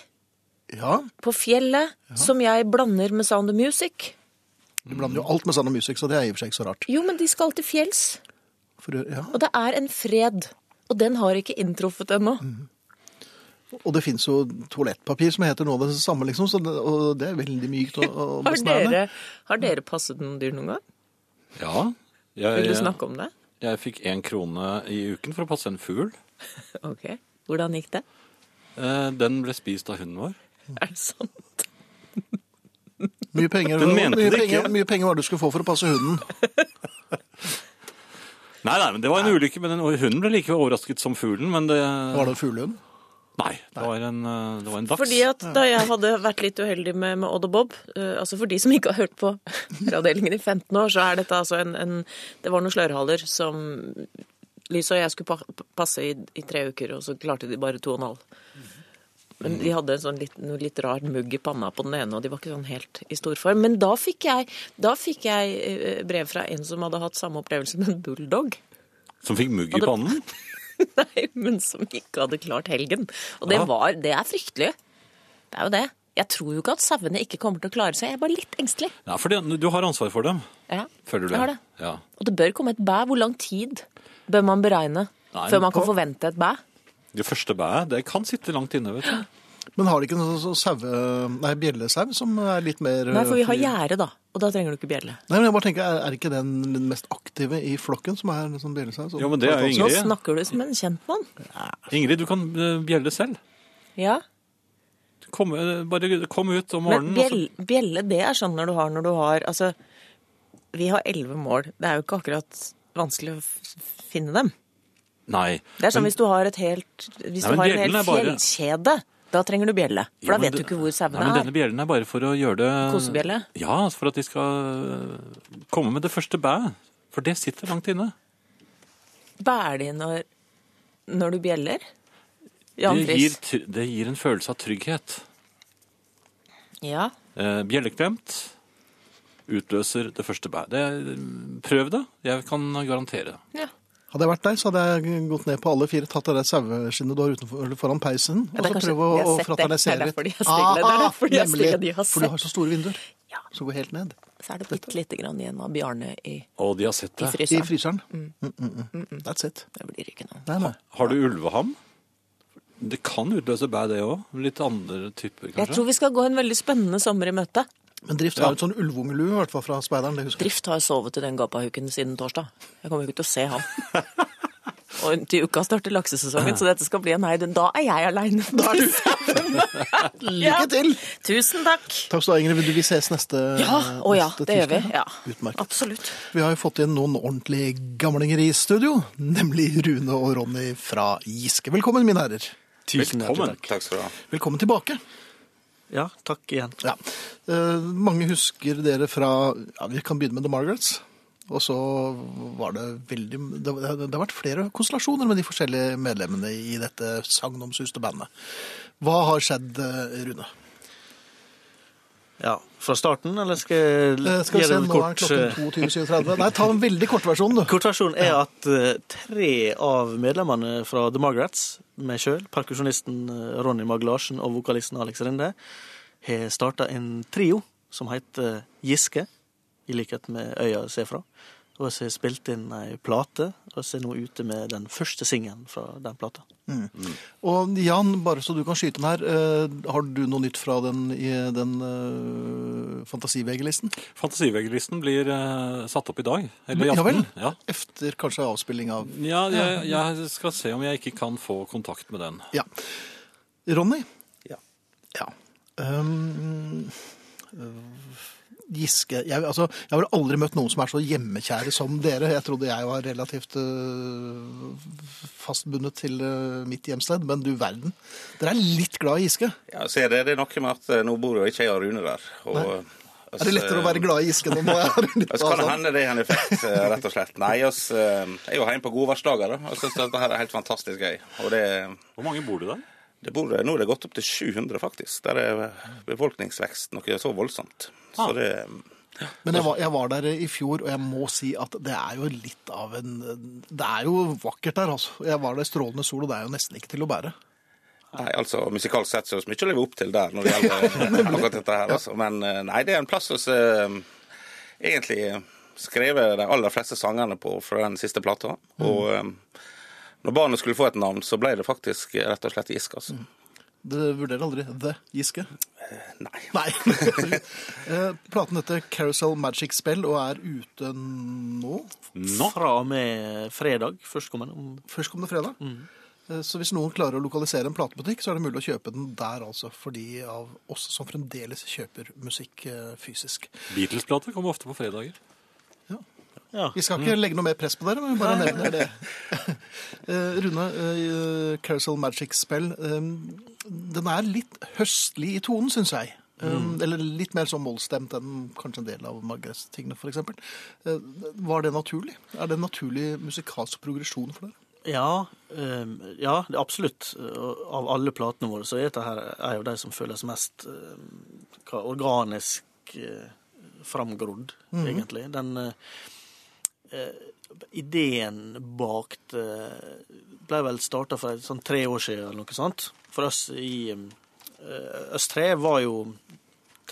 [SPEAKER 1] Ja.
[SPEAKER 3] på fjellet, som jeg blander med Sound of Music.
[SPEAKER 1] Du blander jo alt med Sound of Music, så det er i og for seg ikke så rart.
[SPEAKER 3] Jo, men de skal til fjells.
[SPEAKER 1] For, ja.
[SPEAKER 3] Og det er en fred. Og den har ikke inntruffet ennå.
[SPEAKER 1] Og det fins jo toalettpapir som heter noe av det samme, liksom, så det, og det er veldig mykt og, og
[SPEAKER 3] Har
[SPEAKER 1] besnærende.
[SPEAKER 3] dere, har dere passet noen dyr noen gang?
[SPEAKER 2] Ja.
[SPEAKER 3] Vil du
[SPEAKER 2] Jeg,
[SPEAKER 3] snakke om det?
[SPEAKER 2] jeg fikk én krone i uken for å passe en fugl.
[SPEAKER 3] Ok. Hvordan gikk det?
[SPEAKER 2] Eh, Den ble spist av hunden vår.
[SPEAKER 3] Er det sånn? sant?
[SPEAKER 1] Mye penger,
[SPEAKER 2] Den mente
[SPEAKER 1] mye,
[SPEAKER 2] det ikke.
[SPEAKER 1] penger, mye penger var det du skulle få for å passe hunden.
[SPEAKER 2] Nei, nei, men Det var en ulykke, men den, og hunden ble like overrasket som fuglen. Men det
[SPEAKER 1] Var det en fuglehund?
[SPEAKER 2] Nei, det var en, eh, det var en dags.
[SPEAKER 3] Fordi at da jeg hadde vært litt uheldig med, med Odd og Bob, eh, altså for de som ikke har hørt på radioavdelingen i 15 år, så er dette altså en, en Det var noen slørhaler som Lys og jeg skulle pa passe i, i tre uker, og så klarte de bare to og en halv. Men de hadde en sånn litt, noe litt rar mugg i panna på den ene, og de var ikke sånn helt i storform. Men da fikk jeg, da fikk jeg eh, brev fra en som hadde hatt samme opplevelse med en bulldog.
[SPEAKER 2] Som fikk mugg i
[SPEAKER 3] Hadde-
[SPEAKER 2] pannen.
[SPEAKER 3] Nei, men som ikke hadde klart helgen. Og det,
[SPEAKER 2] Ja.
[SPEAKER 3] var, det er fryktelig. Det er jo det. Jeg tror jo ikke at sauene ikke kommer til å klare seg. Jeg er bare litt engstelig.
[SPEAKER 2] Ja, for det, du har ansvar for dem,
[SPEAKER 3] Ja,
[SPEAKER 2] føler du?
[SPEAKER 3] jeg har det.
[SPEAKER 2] Ja.
[SPEAKER 3] Og det bør komme et bæ. Hvor lang tid bør man beregne
[SPEAKER 2] Nei,
[SPEAKER 3] før man
[SPEAKER 2] på-
[SPEAKER 3] kan forvente et bæ?
[SPEAKER 2] Det første bæet, det kan sitte langt inne, vet du.
[SPEAKER 1] Men har de ikke noe sånn saue... Nei, bjellesau som er litt mer
[SPEAKER 2] Eh,
[SPEAKER 1] eh,
[SPEAKER 3] Nei, for vi har
[SPEAKER 1] fri?
[SPEAKER 3] gjerde, da. Og da trenger du ikke bjelle.
[SPEAKER 1] Nei, men jeg bare tenker, er, er ikke den den mest aktive i flokken som er sånn bjellesau? som-
[SPEAKER 2] Jo, men det er jo
[SPEAKER 3] Nå
[SPEAKER 2] Ingrid.
[SPEAKER 3] snakker du som en kjentmann.
[SPEAKER 2] Ingrid, du kan eh, bjelle selv.
[SPEAKER 3] Ja.
[SPEAKER 2] Kom, eh, bare kom ut om
[SPEAKER 3] Men
[SPEAKER 2] morgenen. altså. og så-
[SPEAKER 3] bjelle, bjelle, det er sånn når du har når du har Altså, vi har elleve mål. Det er jo ikke akkurat vanskelig å f- finne dem.
[SPEAKER 2] Nei.
[SPEAKER 3] Det er sånn
[SPEAKER 2] men-
[SPEAKER 3] hvis du har et helt Hvis
[SPEAKER 2] Nei,
[SPEAKER 3] du
[SPEAKER 2] men
[SPEAKER 3] har en
[SPEAKER 2] bjellen
[SPEAKER 3] hel
[SPEAKER 2] er bare-
[SPEAKER 3] fjellkjede, da trenger du bjelle. For
[SPEAKER 2] Jo,
[SPEAKER 3] da
[SPEAKER 2] men
[SPEAKER 3] vet du
[SPEAKER 2] det-
[SPEAKER 3] ikke hvor sauene
[SPEAKER 2] Nei, men
[SPEAKER 3] er.
[SPEAKER 2] Denne bjellen er bare for å gjøre det
[SPEAKER 3] Kosebjelle?
[SPEAKER 2] Ja, for at de skal eh, komme med det første bæet. For det sitter langt inne.
[SPEAKER 3] Bærer de når, når du bjeller? Jan
[SPEAKER 2] Det gir,
[SPEAKER 3] Friis.
[SPEAKER 2] tr- det gir en følelse av trygghet.
[SPEAKER 3] Ja.
[SPEAKER 2] Eh, Bjelleklemt utløser det første bæet. Det- Prøv det. Jeg kan garantere.
[SPEAKER 3] ja.
[SPEAKER 1] Hadde jeg vært deg, så hadde jeg gått ned på alle fire, tatt det der saueskinnet du har utenfor, eller foran peisen,
[SPEAKER 3] Ja,
[SPEAKER 1] og
[SPEAKER 3] det er
[SPEAKER 1] så
[SPEAKER 3] kanskje-
[SPEAKER 1] prøve å,
[SPEAKER 3] jeg har
[SPEAKER 1] å
[SPEAKER 3] sett det.
[SPEAKER 1] fraternisere
[SPEAKER 3] Det er
[SPEAKER 1] litt.
[SPEAKER 3] derfor de er stille. Det er
[SPEAKER 1] Ah,
[SPEAKER 3] derfor de er
[SPEAKER 1] nemlig.
[SPEAKER 3] stille. De har
[SPEAKER 1] For du
[SPEAKER 3] sett.
[SPEAKER 1] har så store vinduer
[SPEAKER 3] Ja.
[SPEAKER 1] som går helt ned.
[SPEAKER 3] Så er det bitte lite grann igjen av Bjarne i,
[SPEAKER 2] Og de har sett
[SPEAKER 3] i
[SPEAKER 2] det.
[SPEAKER 1] I
[SPEAKER 3] fryseren.
[SPEAKER 1] fryseren. Mm, mm, mm. That's it.
[SPEAKER 3] Det blir ikke noe.
[SPEAKER 1] Nei, nei.
[SPEAKER 2] Har du ulveham? Det kan utløse bæ, det òg. Litt andre typer, kanskje.
[SPEAKER 3] Jeg tror vi skal gå en veldig spennende sommer i møte.
[SPEAKER 1] Men Drift har jo et sånn ulvungelue, i hvert fall fra speideren. det husker jeg.
[SPEAKER 3] Drift har sovet i den gapahuken siden torsdag. Jeg kommer jo ikke til å se ham. Og til uka starter laksesesongen, så dette skal bli en heidun. Da er jeg aleine. Da er du
[SPEAKER 1] Lykke til!
[SPEAKER 3] Tusen takk.
[SPEAKER 1] Takk skal du ha, Ingrid. Vil du vi ses neste
[SPEAKER 3] Ja, å ja,
[SPEAKER 1] neste
[SPEAKER 3] det gjør vi.
[SPEAKER 1] tirsdag?
[SPEAKER 3] Ja.
[SPEAKER 1] Utmerket.
[SPEAKER 3] Absolutt.
[SPEAKER 1] Vi har jo fått inn noen ordentlige gamlinger i studio, nemlig Rune og Ronny fra Giske. Velkommen, mine herrer.
[SPEAKER 2] Tusen hjertelig takk.
[SPEAKER 4] Takk skal du ha.
[SPEAKER 1] Velkommen tilbake.
[SPEAKER 5] Ja, takk igjen.
[SPEAKER 1] Ja. Eh, mange husker dere fra ja, Vi kan begynne med The Margarets. Og så var det veldig Det, det, det har vært flere konstellasjoner med de forskjellige medlemmene i dette sagnomsuste bandet. Hva har skjedd, eh, Rune?
[SPEAKER 5] Ja, Fra starten, eller skal jeg
[SPEAKER 1] Eh, Skal vi se,
[SPEAKER 5] gjøre en
[SPEAKER 1] nå er
[SPEAKER 5] kort
[SPEAKER 1] klokken
[SPEAKER 5] eh,
[SPEAKER 1] 22.30. Nei, ta en veldig kort versjon, du.
[SPEAKER 5] Kortversjonen er at eh, tre av medlemmene fra The Margarets, meg sjøl, perkusjonisten eh, Ronny Mag Larsen og vokalisten Alex Rinde, har starta en trio som heter eh, Giske, i likhet med øya jeg ser fra. Og så har jeg spilt inn ei plate, og så er jeg nå ute med den første singelen fra den plata.
[SPEAKER 1] Mm. Og Jan, bare så du kan skyte den her, eh, har du noe nytt fra den, i den eh, fantasi-VG-listen?
[SPEAKER 2] Fantasiveggerlisten blir eh, satt opp i dag. Eller i
[SPEAKER 1] Ja vel.
[SPEAKER 2] aften. Ja.
[SPEAKER 1] Efter kanskje avspilling av
[SPEAKER 2] Ja, jeg, jeg skal se om jeg ikke kan få kontakt med den.
[SPEAKER 1] Ja. Ronny?
[SPEAKER 5] Ja.
[SPEAKER 1] Ja. Um, Giske jeg, altså, jeg har vel aldri møtt noen som er så hjemmekjære som dere. Jeg trodde jeg var relativt øh, fastbundet til øh, mitt hjemsted, men du verden. Dere er litt glad i Giske.
[SPEAKER 4] Ja, ser dere, det er noe med at eh, nå bor jo ikke jeg og Rune der. Og,
[SPEAKER 1] Er det lettere å være glad i Giske når man er litt
[SPEAKER 4] Altså, kan det hende det er en effekt, eh, rett og slett. Nei, oss eh, er jo hjemme på godværsdager, da. Jeg syns dette her er helt fantastisk gøy. Og det,
[SPEAKER 2] Hvor mange bor det der?
[SPEAKER 4] det bor, nå er det gått opp til 700, faktisk. Der er befolkningsvekst noe så voldsomt. Så
[SPEAKER 2] Ah.
[SPEAKER 4] det
[SPEAKER 1] Men jeg var, jeg var der i fjor, og jeg må si at det er jo litt av en Det er jo vakkert der, altså. Jeg var der i strålende sol, og det er jo nesten ikke til å bære.
[SPEAKER 4] Nei, altså musikalsk sett så er det mye å leve opp til der når det gjelder akkurat dette her, altså. Men eh, nei, det er en plass hos egentlig skrevet de aller fleste sangene på fra den siste plata. Og eh, når barnet skulle få et navn, så ble det faktisk eh, rett og slett Giske, altså.
[SPEAKER 1] Dere vurderer aldri The Giske?
[SPEAKER 4] Nei.
[SPEAKER 1] Nei. Eh, Platen heter Carousel Magic Spell og er ute nå.
[SPEAKER 2] Nå?
[SPEAKER 5] Fra og med fredag førstkommende. om-
[SPEAKER 1] Førstkommende fredag. Eh, Så hvis noen klarer å lokalisere en platebutikk, så er det mulig å kjøpe den der, altså. For de av oss som fremdeles kjøper musikk eh, fysisk.
[SPEAKER 2] Beatles-plater kommer ofte på fredager.
[SPEAKER 5] Ja.
[SPEAKER 1] Vi skal ikke legge noe mer press på dere, men vi bare nevner det. Eh, Rune, eh, Carousel Magic Spell, eh, den er litt høstlig i tonen, syns jeg. Eh, Eller litt mer sånn mollstemt enn kanskje en del av Margrets-tingene, f.eks. Eh, Var det naturlig? Er det en naturlig musikalsk progresjon for dere?
[SPEAKER 5] Ja, ehm, ja det er absolutt. Og Av alle platene våre så er dette her er jo de som føles mest ehm, hva, organisk eh, framgrodd, egentlig. Den eh, eh, ideen bak det ble vel starta for et sånn tre år siden eller noe sånt. For oss i ehm, eh, Oss tre var jo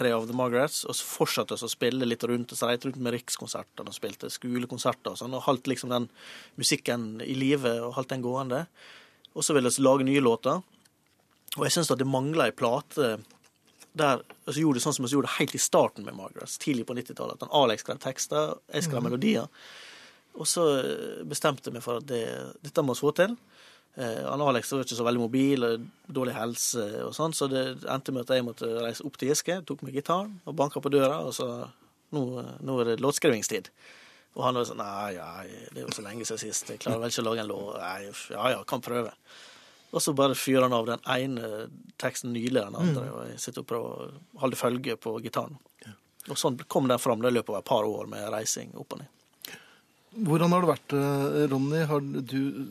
[SPEAKER 5] tre av The Margarets, og så fortsatte vi å spille litt rundt. og Så reiste vi rundt med rikskonsertene og spilte skolekonserter og sånn, og holdt liksom den musikken i live og holdt den gående. Og så ville vi lage nye låter. Og jeg syns at det mangla ei plate der altså gjorde det sånn som vi gjorde det helt i starten med Margarets, tidlig på 90-tallet. At han Alex skrev tekster, jeg skrev melodier. Og så eh, bestemte jeg meg for at det, dette må vi få til. Eh, han Alex var ikke så veldig mobil, og dårlig helse og sånn, så det endte med at jeg måtte reise opp til Giske, tok med gitaren og banka på døra og sa nå, nå er det låtskrivingstid. Og han var sånn Nei, nei, det er jo så lenge siden sist, jeg klarer vel ikke å lage en låt Nei, uff, ja ja, kan prøve. Og så bare fyrer han av den ene teksten nylig den andre, og jeg sitter og prøver å holde følge på gitaren. Og sånn kom den fram det i løpet av et par år med reising opp og ned.
[SPEAKER 1] Hvordan har det vært, eh, Ronny? Har du eh,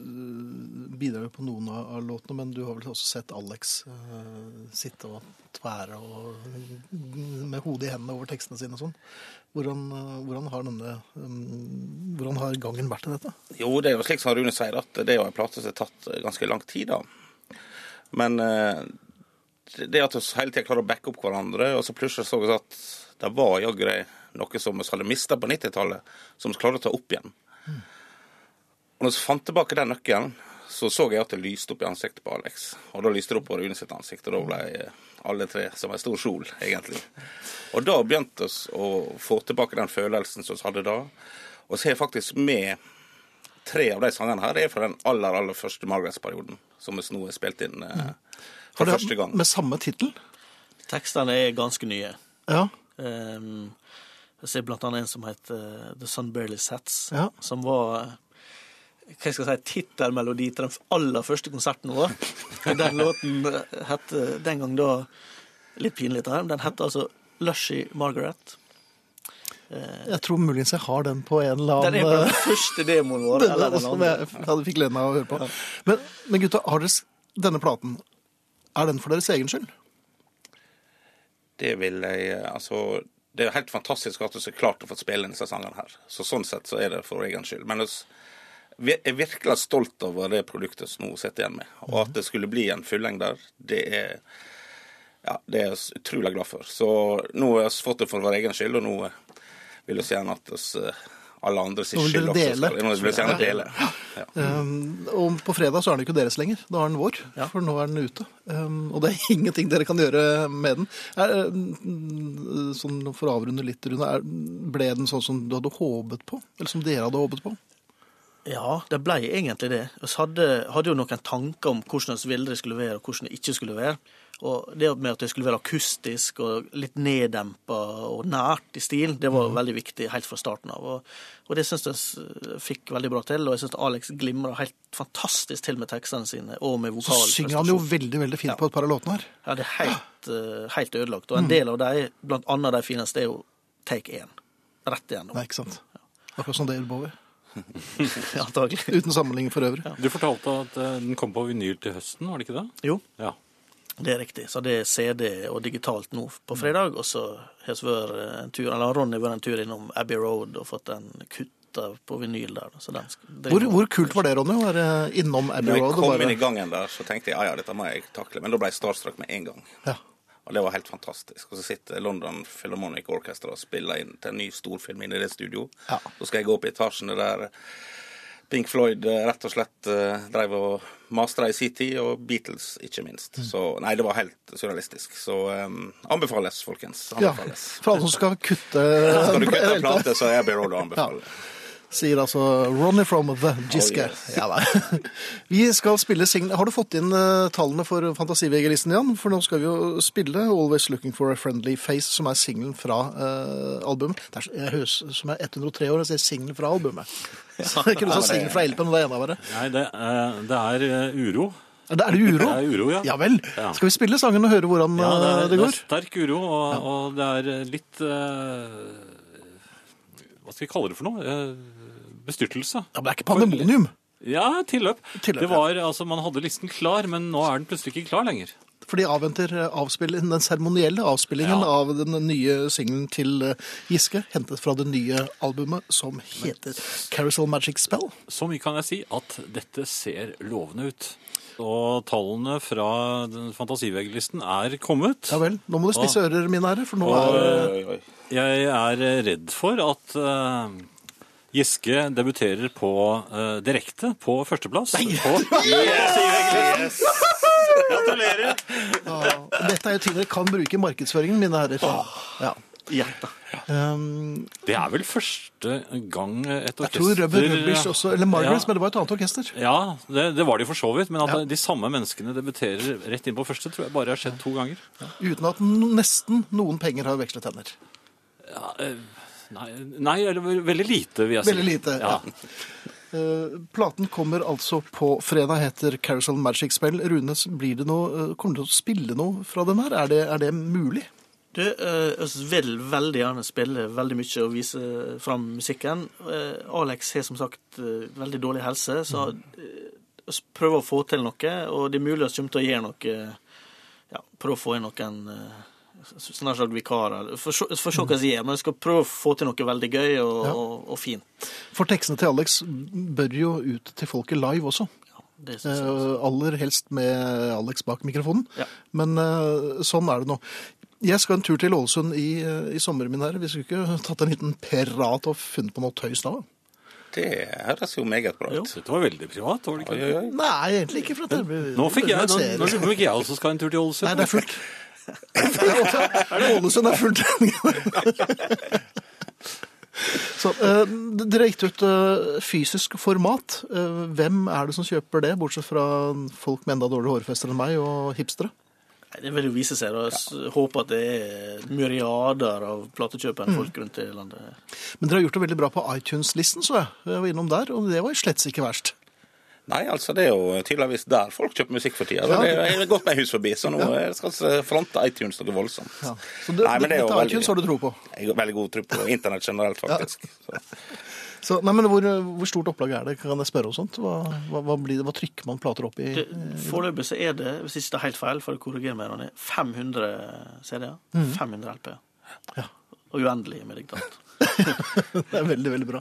[SPEAKER 1] bidrar jo på noen av av låtene, men du har vel også sett Alex eh, sitte og tvære og, med hodet i hendene over tekstene sine og sånn. Hvordan, eh, hvordan, har denne, mm, hvordan har gangen vært i dette?
[SPEAKER 4] Jo, det er jo slik som Rune sier, at det er jo en plate som har tatt eh, ganske lang tid, da. Men eh, det at vi hele tida klarer å backe opp hverandre, og så plutselig så vi at det var jaggu det noe som vi hadde mista på 90-tallet, som vi klarer å ta opp igjen. Og når vi fant tilbake den nøkkelen, så så jeg at det lyste opp i ansiktet på Alex. Og da lyste det opp på Rune sitt ansikt, og da ble alle tre som en stor sol, egentlig. Og da begynte oss å få tilbake den følelsen som vi hadde da. Og så er jeg faktisk med tre av de sangene her er fra den aller, aller første Margarets-perioden, som vi nå har spilt inn eh, for
[SPEAKER 1] Har det
[SPEAKER 4] første gang.
[SPEAKER 1] Med samme tittel?
[SPEAKER 5] Tekstene er ganske nye.
[SPEAKER 1] Ja.
[SPEAKER 5] Um, jeg ser blant annet en som heter eh, The Sun Barely Sets,
[SPEAKER 1] Ja.
[SPEAKER 5] som var eh, hva skal jeg si, tittelmelodi til den aller første konserten vår. Den låten eh, het eh, den gang da Litt pinlig, dette her. men Den het altså Lushy Margaret. Eh,
[SPEAKER 1] Jeg tror muligens jeg har den på en eller annen
[SPEAKER 5] Den er på den første demoen vår.
[SPEAKER 1] Denne,
[SPEAKER 5] eller den
[SPEAKER 1] som
[SPEAKER 5] andre.
[SPEAKER 1] jeg hadde fikk gleden av å høre på. Men, men gutta, har dere, s- denne platen, er den for deres egen skyld?
[SPEAKER 4] Det vil jeg eh, Altså, det er jo helt fantastisk at du så klart har fått spille disse sangene her. Så sånn sett så er det for egen skyld. Men jeg jeg er virkelig stolt over det produktet som nå sitter igjen med. Og at det skulle bli en fullengder, det er ja, det er jeg utrolig glad for. Så nå har vi fått det for vår egen skyld, og nå eh, vil vi gjerne at oss, eh, alle andre sin
[SPEAKER 1] Nå vil
[SPEAKER 4] skyld
[SPEAKER 1] dere
[SPEAKER 4] også
[SPEAKER 1] dele.
[SPEAKER 4] skal Nå vil vi gjerne dele. Ja.
[SPEAKER 1] Um, og på fredag så er den ikke deres lenger. Da er den vår, for nå er den ute. Um, og det er ingenting dere kan gjøre med den. Er, um, sånn for å avrunde litt, Rune, er, ble den sånn som du hadde håpet på? Eller som dere hadde håpet på?
[SPEAKER 5] Ja, det ble egentlig det. Vi hadde, hadde jo noen tanker om hvordan det ville det skulle være, og hvordan det ikke skulle være. Og det med at det skulle være akustisk og litt neddempa og nært i stil, det
[SPEAKER 1] Mm.
[SPEAKER 5] var veldig viktig helt fra starten av. Og, og det syns jeg s- fikk veldig bra til, og jeg syns Alex glimra helt fantastisk til med tekstene sine og med
[SPEAKER 1] Så
[SPEAKER 5] vokal.
[SPEAKER 1] synger han jo Ah. veldig veldig fint på et par av låtene her.
[SPEAKER 5] Ja, det er helt, eh, helt ødelagt. Og
[SPEAKER 1] Mm.
[SPEAKER 5] en del av de, blant annet de fineste, er jo Take 1. Rett igjennom,
[SPEAKER 1] Nei, ikke sant? Akkurat som Dale Bowie.
[SPEAKER 5] antagelig.
[SPEAKER 1] Uten sammenligning for øvrig.
[SPEAKER 2] Du fortalte at eh, den kom på vinyl til høsten, var det ikke det?
[SPEAKER 5] Jo,
[SPEAKER 2] Ja.
[SPEAKER 5] Det er riktig. Så det er CD og digitalt nå
[SPEAKER 1] Mm.
[SPEAKER 5] på fredag. Og så har vi vært en tur, eller Ronny har vært en tur innom Abbey Road og fått en kutta på vinyl der. Så den skal, det
[SPEAKER 1] Hvor, hvor kult var det, Ronny? Å være innom
[SPEAKER 4] Når
[SPEAKER 1] Abbey
[SPEAKER 4] jeg
[SPEAKER 1] Road? og
[SPEAKER 4] kom inn
[SPEAKER 1] Bare...
[SPEAKER 4] i gangen der, så tenkte jeg ja, ja, dette må jeg takle. Men da ble jeg starstruck med en gang.
[SPEAKER 1] Ja.
[SPEAKER 4] Og det var helt fantastisk. Og så sitter London Philharmonic Orchestra og spiller inn til en ny storfilm inne i det studio.
[SPEAKER 1] Ja.
[SPEAKER 4] Så skal jeg gå opp i etasjene der Pink Floyd eh, rett og slett eh, drev og mastra i sin tid, og Beatles ikke
[SPEAKER 1] Mm.
[SPEAKER 4] minst. Så nei, det var helt surrealistisk. Så eh, anbefales, folkens.
[SPEAKER 1] ja.
[SPEAKER 4] Anbefales.
[SPEAKER 1] For alle som skal kutte
[SPEAKER 4] Skal du kutte en
[SPEAKER 1] Vent da.
[SPEAKER 4] plate, så er Abbey Road å anbefale.
[SPEAKER 1] Sier altså Ronny from The Giske.
[SPEAKER 4] Oh, yes.
[SPEAKER 1] ja, da. vi skal spille singel... Har du fått inn eh, tallene for Fantasivegerlisten, Jan? For nå skal vi jo spille Always Looking for a Friendly Face, som er singelen fra eh, albumet. Det er, så- jeg høres ut som jeg er 103 år og sier singelen fra albumet. Så jeg kunne sagt singelen fra Elpen, og det er en av dere.
[SPEAKER 2] Nei, det, eh, det er eh, uro.
[SPEAKER 1] Er det, er det uro?
[SPEAKER 2] Det er uro, ja.
[SPEAKER 1] Ja vel.
[SPEAKER 2] Ja.
[SPEAKER 1] Skal vi spille sangen og høre hvordan
[SPEAKER 2] Ja, det,
[SPEAKER 1] eh,
[SPEAKER 2] er,
[SPEAKER 1] det
[SPEAKER 2] det er
[SPEAKER 1] går?
[SPEAKER 2] sterk uro, og, og det er eh, litt eh, Hva skal vi kalle det for noe? Eh, bestyrtelse.
[SPEAKER 1] Ja, men det er ikke pandemonium.
[SPEAKER 2] Ja, tilløp.
[SPEAKER 1] Tilløp,
[SPEAKER 2] det var, altså, Man hadde listen klar, men nå er den plutselig ikke klar lenger.
[SPEAKER 1] For de avventer eh, avspillingen, den seremonielle avspillingen
[SPEAKER 2] Ja.
[SPEAKER 1] av den nye singelen til eh, Giske, hentet fra det nye albumet som heter Carousel Magic Spell.
[SPEAKER 2] Så mye kan jeg si at dette ser lovende ut. Og tallene fra den Fantasivegelisten er kommet.
[SPEAKER 1] Ja vel, nå må du spisse ører, min ære, for nå
[SPEAKER 2] Og-
[SPEAKER 1] er
[SPEAKER 4] Oi,
[SPEAKER 1] eh,
[SPEAKER 4] oi, oi.
[SPEAKER 2] Jeg er redd for at eh, Giske debuterer på eh, direkte på førsteplass. På Fantasivegelisten. Gratulerer!
[SPEAKER 1] ja, Dette er jo ting dere kan bruke i markedsføringen, mine herrer. Ja.
[SPEAKER 5] Hjertet.
[SPEAKER 1] Um,
[SPEAKER 2] Det er vel første gang et
[SPEAKER 1] jeg
[SPEAKER 2] orkester
[SPEAKER 1] tror Rubber Rubbish også, eller Margaret,
[SPEAKER 2] Ja.
[SPEAKER 1] men det var et annet orkester.
[SPEAKER 2] Ja, det, det var de for så vidt. Men at
[SPEAKER 1] Ja.
[SPEAKER 2] de samme menneskene debuterer rett inn på første, tror jeg bare har skjedd to ganger.
[SPEAKER 1] Uten at n- nesten noen penger har vekslet hender.
[SPEAKER 2] Ja, eh, nei, nei, eller ve- veldig lite, vil jeg si.
[SPEAKER 1] Veldig lite, ja. Eh, Platen kommer altså på fredag, heter Carousel Magic Spell. Rune, blir det noe, eh, kommer du til å spille noe fra den her? Er det, er det mulig?
[SPEAKER 5] Du, eh, oss vil veldig gjerne spille veldig mye og vise fram musikken. Eh, Alex har som sagt eh, veldig dårlig helse, så
[SPEAKER 1] Mm.
[SPEAKER 5] eh, oss prøver å få til noe. Og det er mulig vi kommer til å gjøre noe ja, Prøve å få inn noen eh, snart sagt vikarer. Få se få se hva som gjør, men vi skal prøve å få til noe veldig gøy
[SPEAKER 1] Mm.
[SPEAKER 5] og,
[SPEAKER 1] Ja.
[SPEAKER 5] og, og fint.
[SPEAKER 1] For tekstene til Alex bør jo ut til folket live også.
[SPEAKER 5] Ja, det synes jeg.
[SPEAKER 1] Eh, Aller helst med Alex bak mikrofonen.
[SPEAKER 5] Ja.
[SPEAKER 1] Men eh, sånn er det nå. Jeg skal en tur til Ålesund i, eh, i sommer, min herre. Vi skulle ikke tatt en liten prat og funnet på noe tøys da?
[SPEAKER 4] Det høres jo meget bra ut.
[SPEAKER 2] Dette var veldig privat, var det ikke?
[SPEAKER 4] Oi, oi, oi.
[SPEAKER 1] Nei, egentlig ikke. for at det blir-
[SPEAKER 2] Nå fikk jeg, nå,
[SPEAKER 1] det blir-
[SPEAKER 2] nå lurer jeg på om ikke jeg også skal en tur til Ålesund.
[SPEAKER 1] Nei, det er fullt. Ålesund er fullt. Så, eh, dere har gitt ut eh, fysisk format. Eh, hvem er det som kjøper det, bortsett fra folk med enda dårligere hårfester enn meg og hipstere?
[SPEAKER 5] Nei, Det vil jo vise seg. og Jeg håper at det er myriader av platekjøpere folk rundt i landet.
[SPEAKER 1] Men dere har gjort det veldig bra på iTunes-listen, så jeg. jeg var innom der, og det var slett ikke verst.
[SPEAKER 4] Nei, altså det er jo tydeligvis der folk kjøper musikk for tida. Det er- Jeg har gått meg hus forbi, så nå eh, skal vi fronte iTunes noe voldsomt.
[SPEAKER 1] Ja. Så det,
[SPEAKER 4] Nei, men det er jo
[SPEAKER 1] dette iTunes
[SPEAKER 4] veldig,
[SPEAKER 1] har du tro på.
[SPEAKER 4] jeg har veldig god tro på internett generelt, faktisk. Så.
[SPEAKER 1] Så, nei, men hvor, hvor stort opplag er det? Kan jeg spørre om sånt? Hva, hva, hva, blir det, hva trykker man plater opp i?
[SPEAKER 5] Det- Foreløpig så er det, hvis ikke det er helt feil, for korriger meg, Ronny, 500 CD-er. 500 LP.
[SPEAKER 1] Ja.
[SPEAKER 5] Og uendelig med digitant.
[SPEAKER 1] Det er veldig, veldig bra.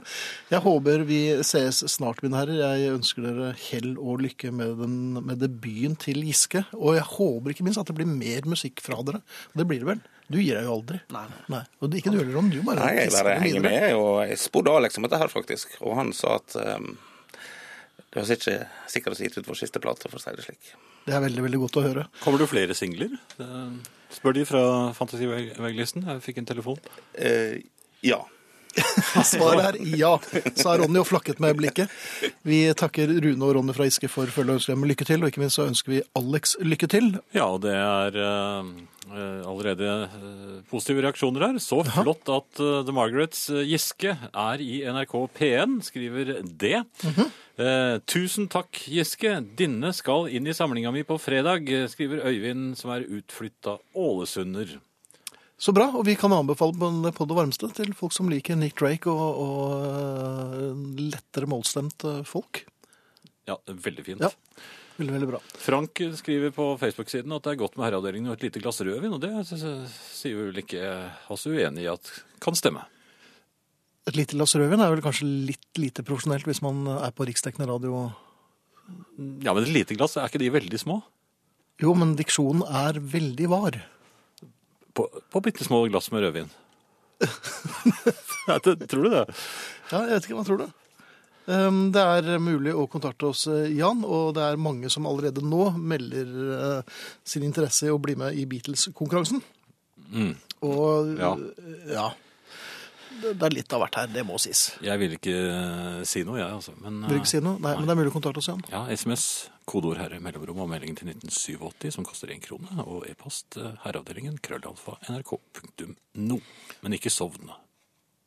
[SPEAKER 1] Jeg håper vi sees snart, mine herrer. Jeg ønsker dere hell og lykke med, den, med debuten til Giske. Og jeg håper ikke minst at det blir mer musikk fra dere. Og det blir det vel? Du gir deg jo aldri.
[SPEAKER 5] Nei, nei.
[SPEAKER 1] Og det- ikke du heller, Ron. Du bare
[SPEAKER 4] Nei, jeg
[SPEAKER 1] pisker
[SPEAKER 4] bare
[SPEAKER 1] det
[SPEAKER 4] henger
[SPEAKER 1] videre.
[SPEAKER 4] med, og jeg spurte Alex om dette her, faktisk. Og han sa at ehm, det var ikke sikkert å gitt ut vår siste plate, for å si det slik.
[SPEAKER 1] Det er veldig, veldig godt å høre.
[SPEAKER 2] Kommer det flere singler? Eh, Spør de fra Fantasivegg-listen. Jeg fikk en telefon.
[SPEAKER 4] Eh, ja.
[SPEAKER 1] Svaret er ja, sa Ronny og flakket med blikket. Vi takker Rune og Ronny fra Giske for følget og ønsker dem lykke til, og ikke minst så ønsker vi Alex lykke til.
[SPEAKER 2] Ja, og det er eh, eh, allerede eh, positive reaksjoner her. Så flott at eh, The Margarets eh, Giske er i NRK P1, skriver det.
[SPEAKER 1] Mhm.
[SPEAKER 2] Eh, tusen takk, Giske. Dinne skal inn i samlinga mi på fredag, eh, skriver Øyvind, som er utflytta ålesunder.
[SPEAKER 1] Så bra, og vi kan anbefale på- det på det varmeste til folk som liker Nick Drake og, og øh, lettere målstemt øh, folk.
[SPEAKER 2] Ja, veldig fint.
[SPEAKER 1] Ja. Veldig, veldig bra.
[SPEAKER 2] Frank skriver på Facebook-siden at det er godt med herreavdelingen og et lite glass rødvin, og det s- s- sier vi vel ikke oss uenig i at kan stemme.
[SPEAKER 1] Et lite glass rødvin er vel kanskje litt lite profesjonelt hvis man er på riksdekkende radio.
[SPEAKER 2] Ja, men et lite glass, er ikke de veldig små?
[SPEAKER 1] Jo, men diksjonen er veldig var.
[SPEAKER 2] På, på bitte små glass med rødvin. Nei, det, tror du det?
[SPEAKER 1] Ja, jeg vet ikke, hva tror du? Um, Det er mulig å kontakte oss, eh, Jan, og det er mange som allerede nå melder eh, sin interesse i å bli med i Beatles-konkurransen.
[SPEAKER 2] Mm,
[SPEAKER 1] Og
[SPEAKER 2] Ja.
[SPEAKER 1] eh, ja. Det det er litt av hvert her, det må sies.
[SPEAKER 2] Jeg vil ikke eh, si noe, jeg, altså. Men,
[SPEAKER 1] Vil du ikke si noe? Nei, men det er mulig å kontakte oss, Jan.
[SPEAKER 2] Ja, SMS, kodeord herre, mellomrom og melding til 1987 som koster én krone, og e-post eh, herreavdelingen krøllalfa nrk.no. Men ikke sovne.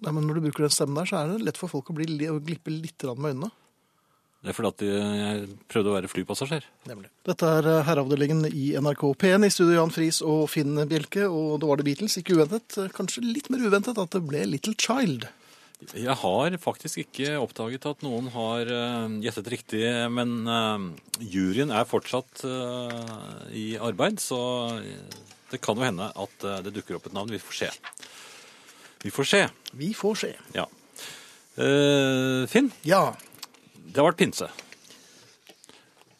[SPEAKER 1] Nei, men når du bruker den stemmen der, så er det lett for folk å, bli, å glippe litt grann med øynene.
[SPEAKER 2] Det er fordi at eh, jeg prøvde å være flypassasjer.
[SPEAKER 1] Nemlig. Dette er eh, herreavdelingen i NRK P1 i studio Jan Friis og Finn Bjelke, og det var det Beatles. Ikke uventet, eh, kanskje litt mer uventet at det ble Little Child.
[SPEAKER 2] Jeg har faktisk ikke oppdaget at noen har eh, gjettet riktig, men eh, juryen er fortsatt eh, i arbeid, så eh, det kan jo hende at eh, det dukker opp et navn. Vi får se. Vi får se.
[SPEAKER 1] Vi får se.
[SPEAKER 2] Ja. Eh, Finn,
[SPEAKER 1] Ja.
[SPEAKER 2] det har vært pinse.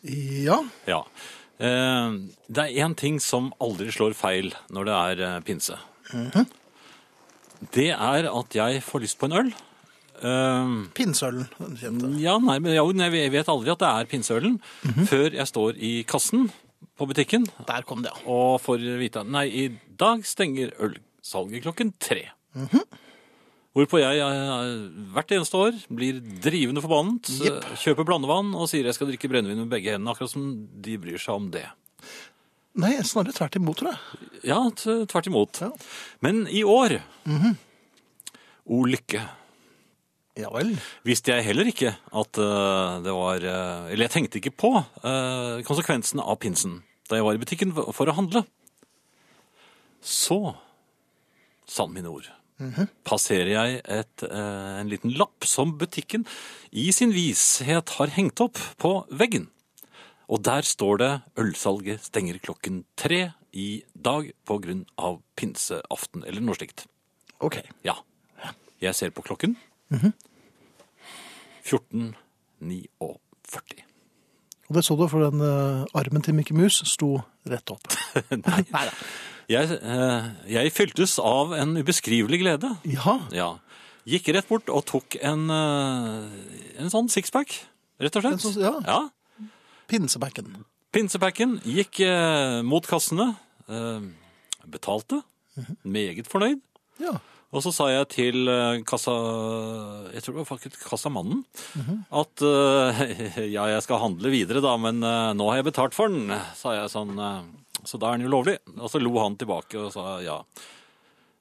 [SPEAKER 1] Ja.
[SPEAKER 2] Ja. Eh, det er én ting som aldri slår feil når det er eh, pinse. Det er at jeg får lyst på en øl. Eh,
[SPEAKER 1] Pinnsølen. den kjente.
[SPEAKER 2] Ja, nei, men jo, nei, jeg vet aldri at det er pinseølen
[SPEAKER 1] Mhm.
[SPEAKER 2] før jeg står i kassen på butikken
[SPEAKER 1] Der kom det, ja.
[SPEAKER 2] og får vite at nei, i dag stenger ølsalget klokken tre.
[SPEAKER 1] Mhm.
[SPEAKER 2] Hvorpå jeg eh, hvert eneste år blir drivende forbannet,
[SPEAKER 1] Jepp.
[SPEAKER 2] eh, kjøper blandevann og sier jeg skal drikke brennevin med begge hendene, akkurat som de bryr seg om det.
[SPEAKER 1] Nei, snarere tvert imot, tror jeg.
[SPEAKER 2] Ja, t- tvert imot.
[SPEAKER 1] Ja. Mhm.
[SPEAKER 2] Men i år, o lykke,
[SPEAKER 1] Ja vel.
[SPEAKER 2] visste jeg heller ikke at eh, det var eh, Eller jeg tenkte ikke på eh, konsekvensen av pinsen da jeg var i butikken for for å handle. Så, sann mine ord, passerer jeg et, eh, en liten lapp som butikken i sin vishet har hengt opp på veggen. Og der står det 'Ølsalget stenger klokken tre i dag på grunn av pinseaften', eller noe slikt.
[SPEAKER 1] Ok.
[SPEAKER 2] Ja. Jeg ser på klokken.
[SPEAKER 1] Mhm.
[SPEAKER 2] 14.49.
[SPEAKER 1] Og det så du, for den eh, armen til Mickey Mouse sto rett opp.
[SPEAKER 2] Nei. Jeg, eh, jeg fyltes av en ubeskrivelig glede.
[SPEAKER 1] Ja.
[SPEAKER 2] Ja. Gikk rett bort og tok en, eh, en sånn sixpack, rett og slett.
[SPEAKER 1] En sånn- ja.
[SPEAKER 2] ja.
[SPEAKER 1] Pinsebacken.
[SPEAKER 2] Pinsepacken gikk eh, mot kassene, eh, betalte,
[SPEAKER 1] Mhm.
[SPEAKER 2] meget fornøyd.
[SPEAKER 1] Ja.
[SPEAKER 2] Og så sa jeg til eh, kassa... Jeg tror det var faktisk kassamannen.
[SPEAKER 1] Mhm.
[SPEAKER 2] At eh, ja, jeg skal handle videre da, men eh, nå har jeg betalt for den, sa jeg sånn. eh, så da er den jo lovlig. Og så lo han tilbake og sa ja.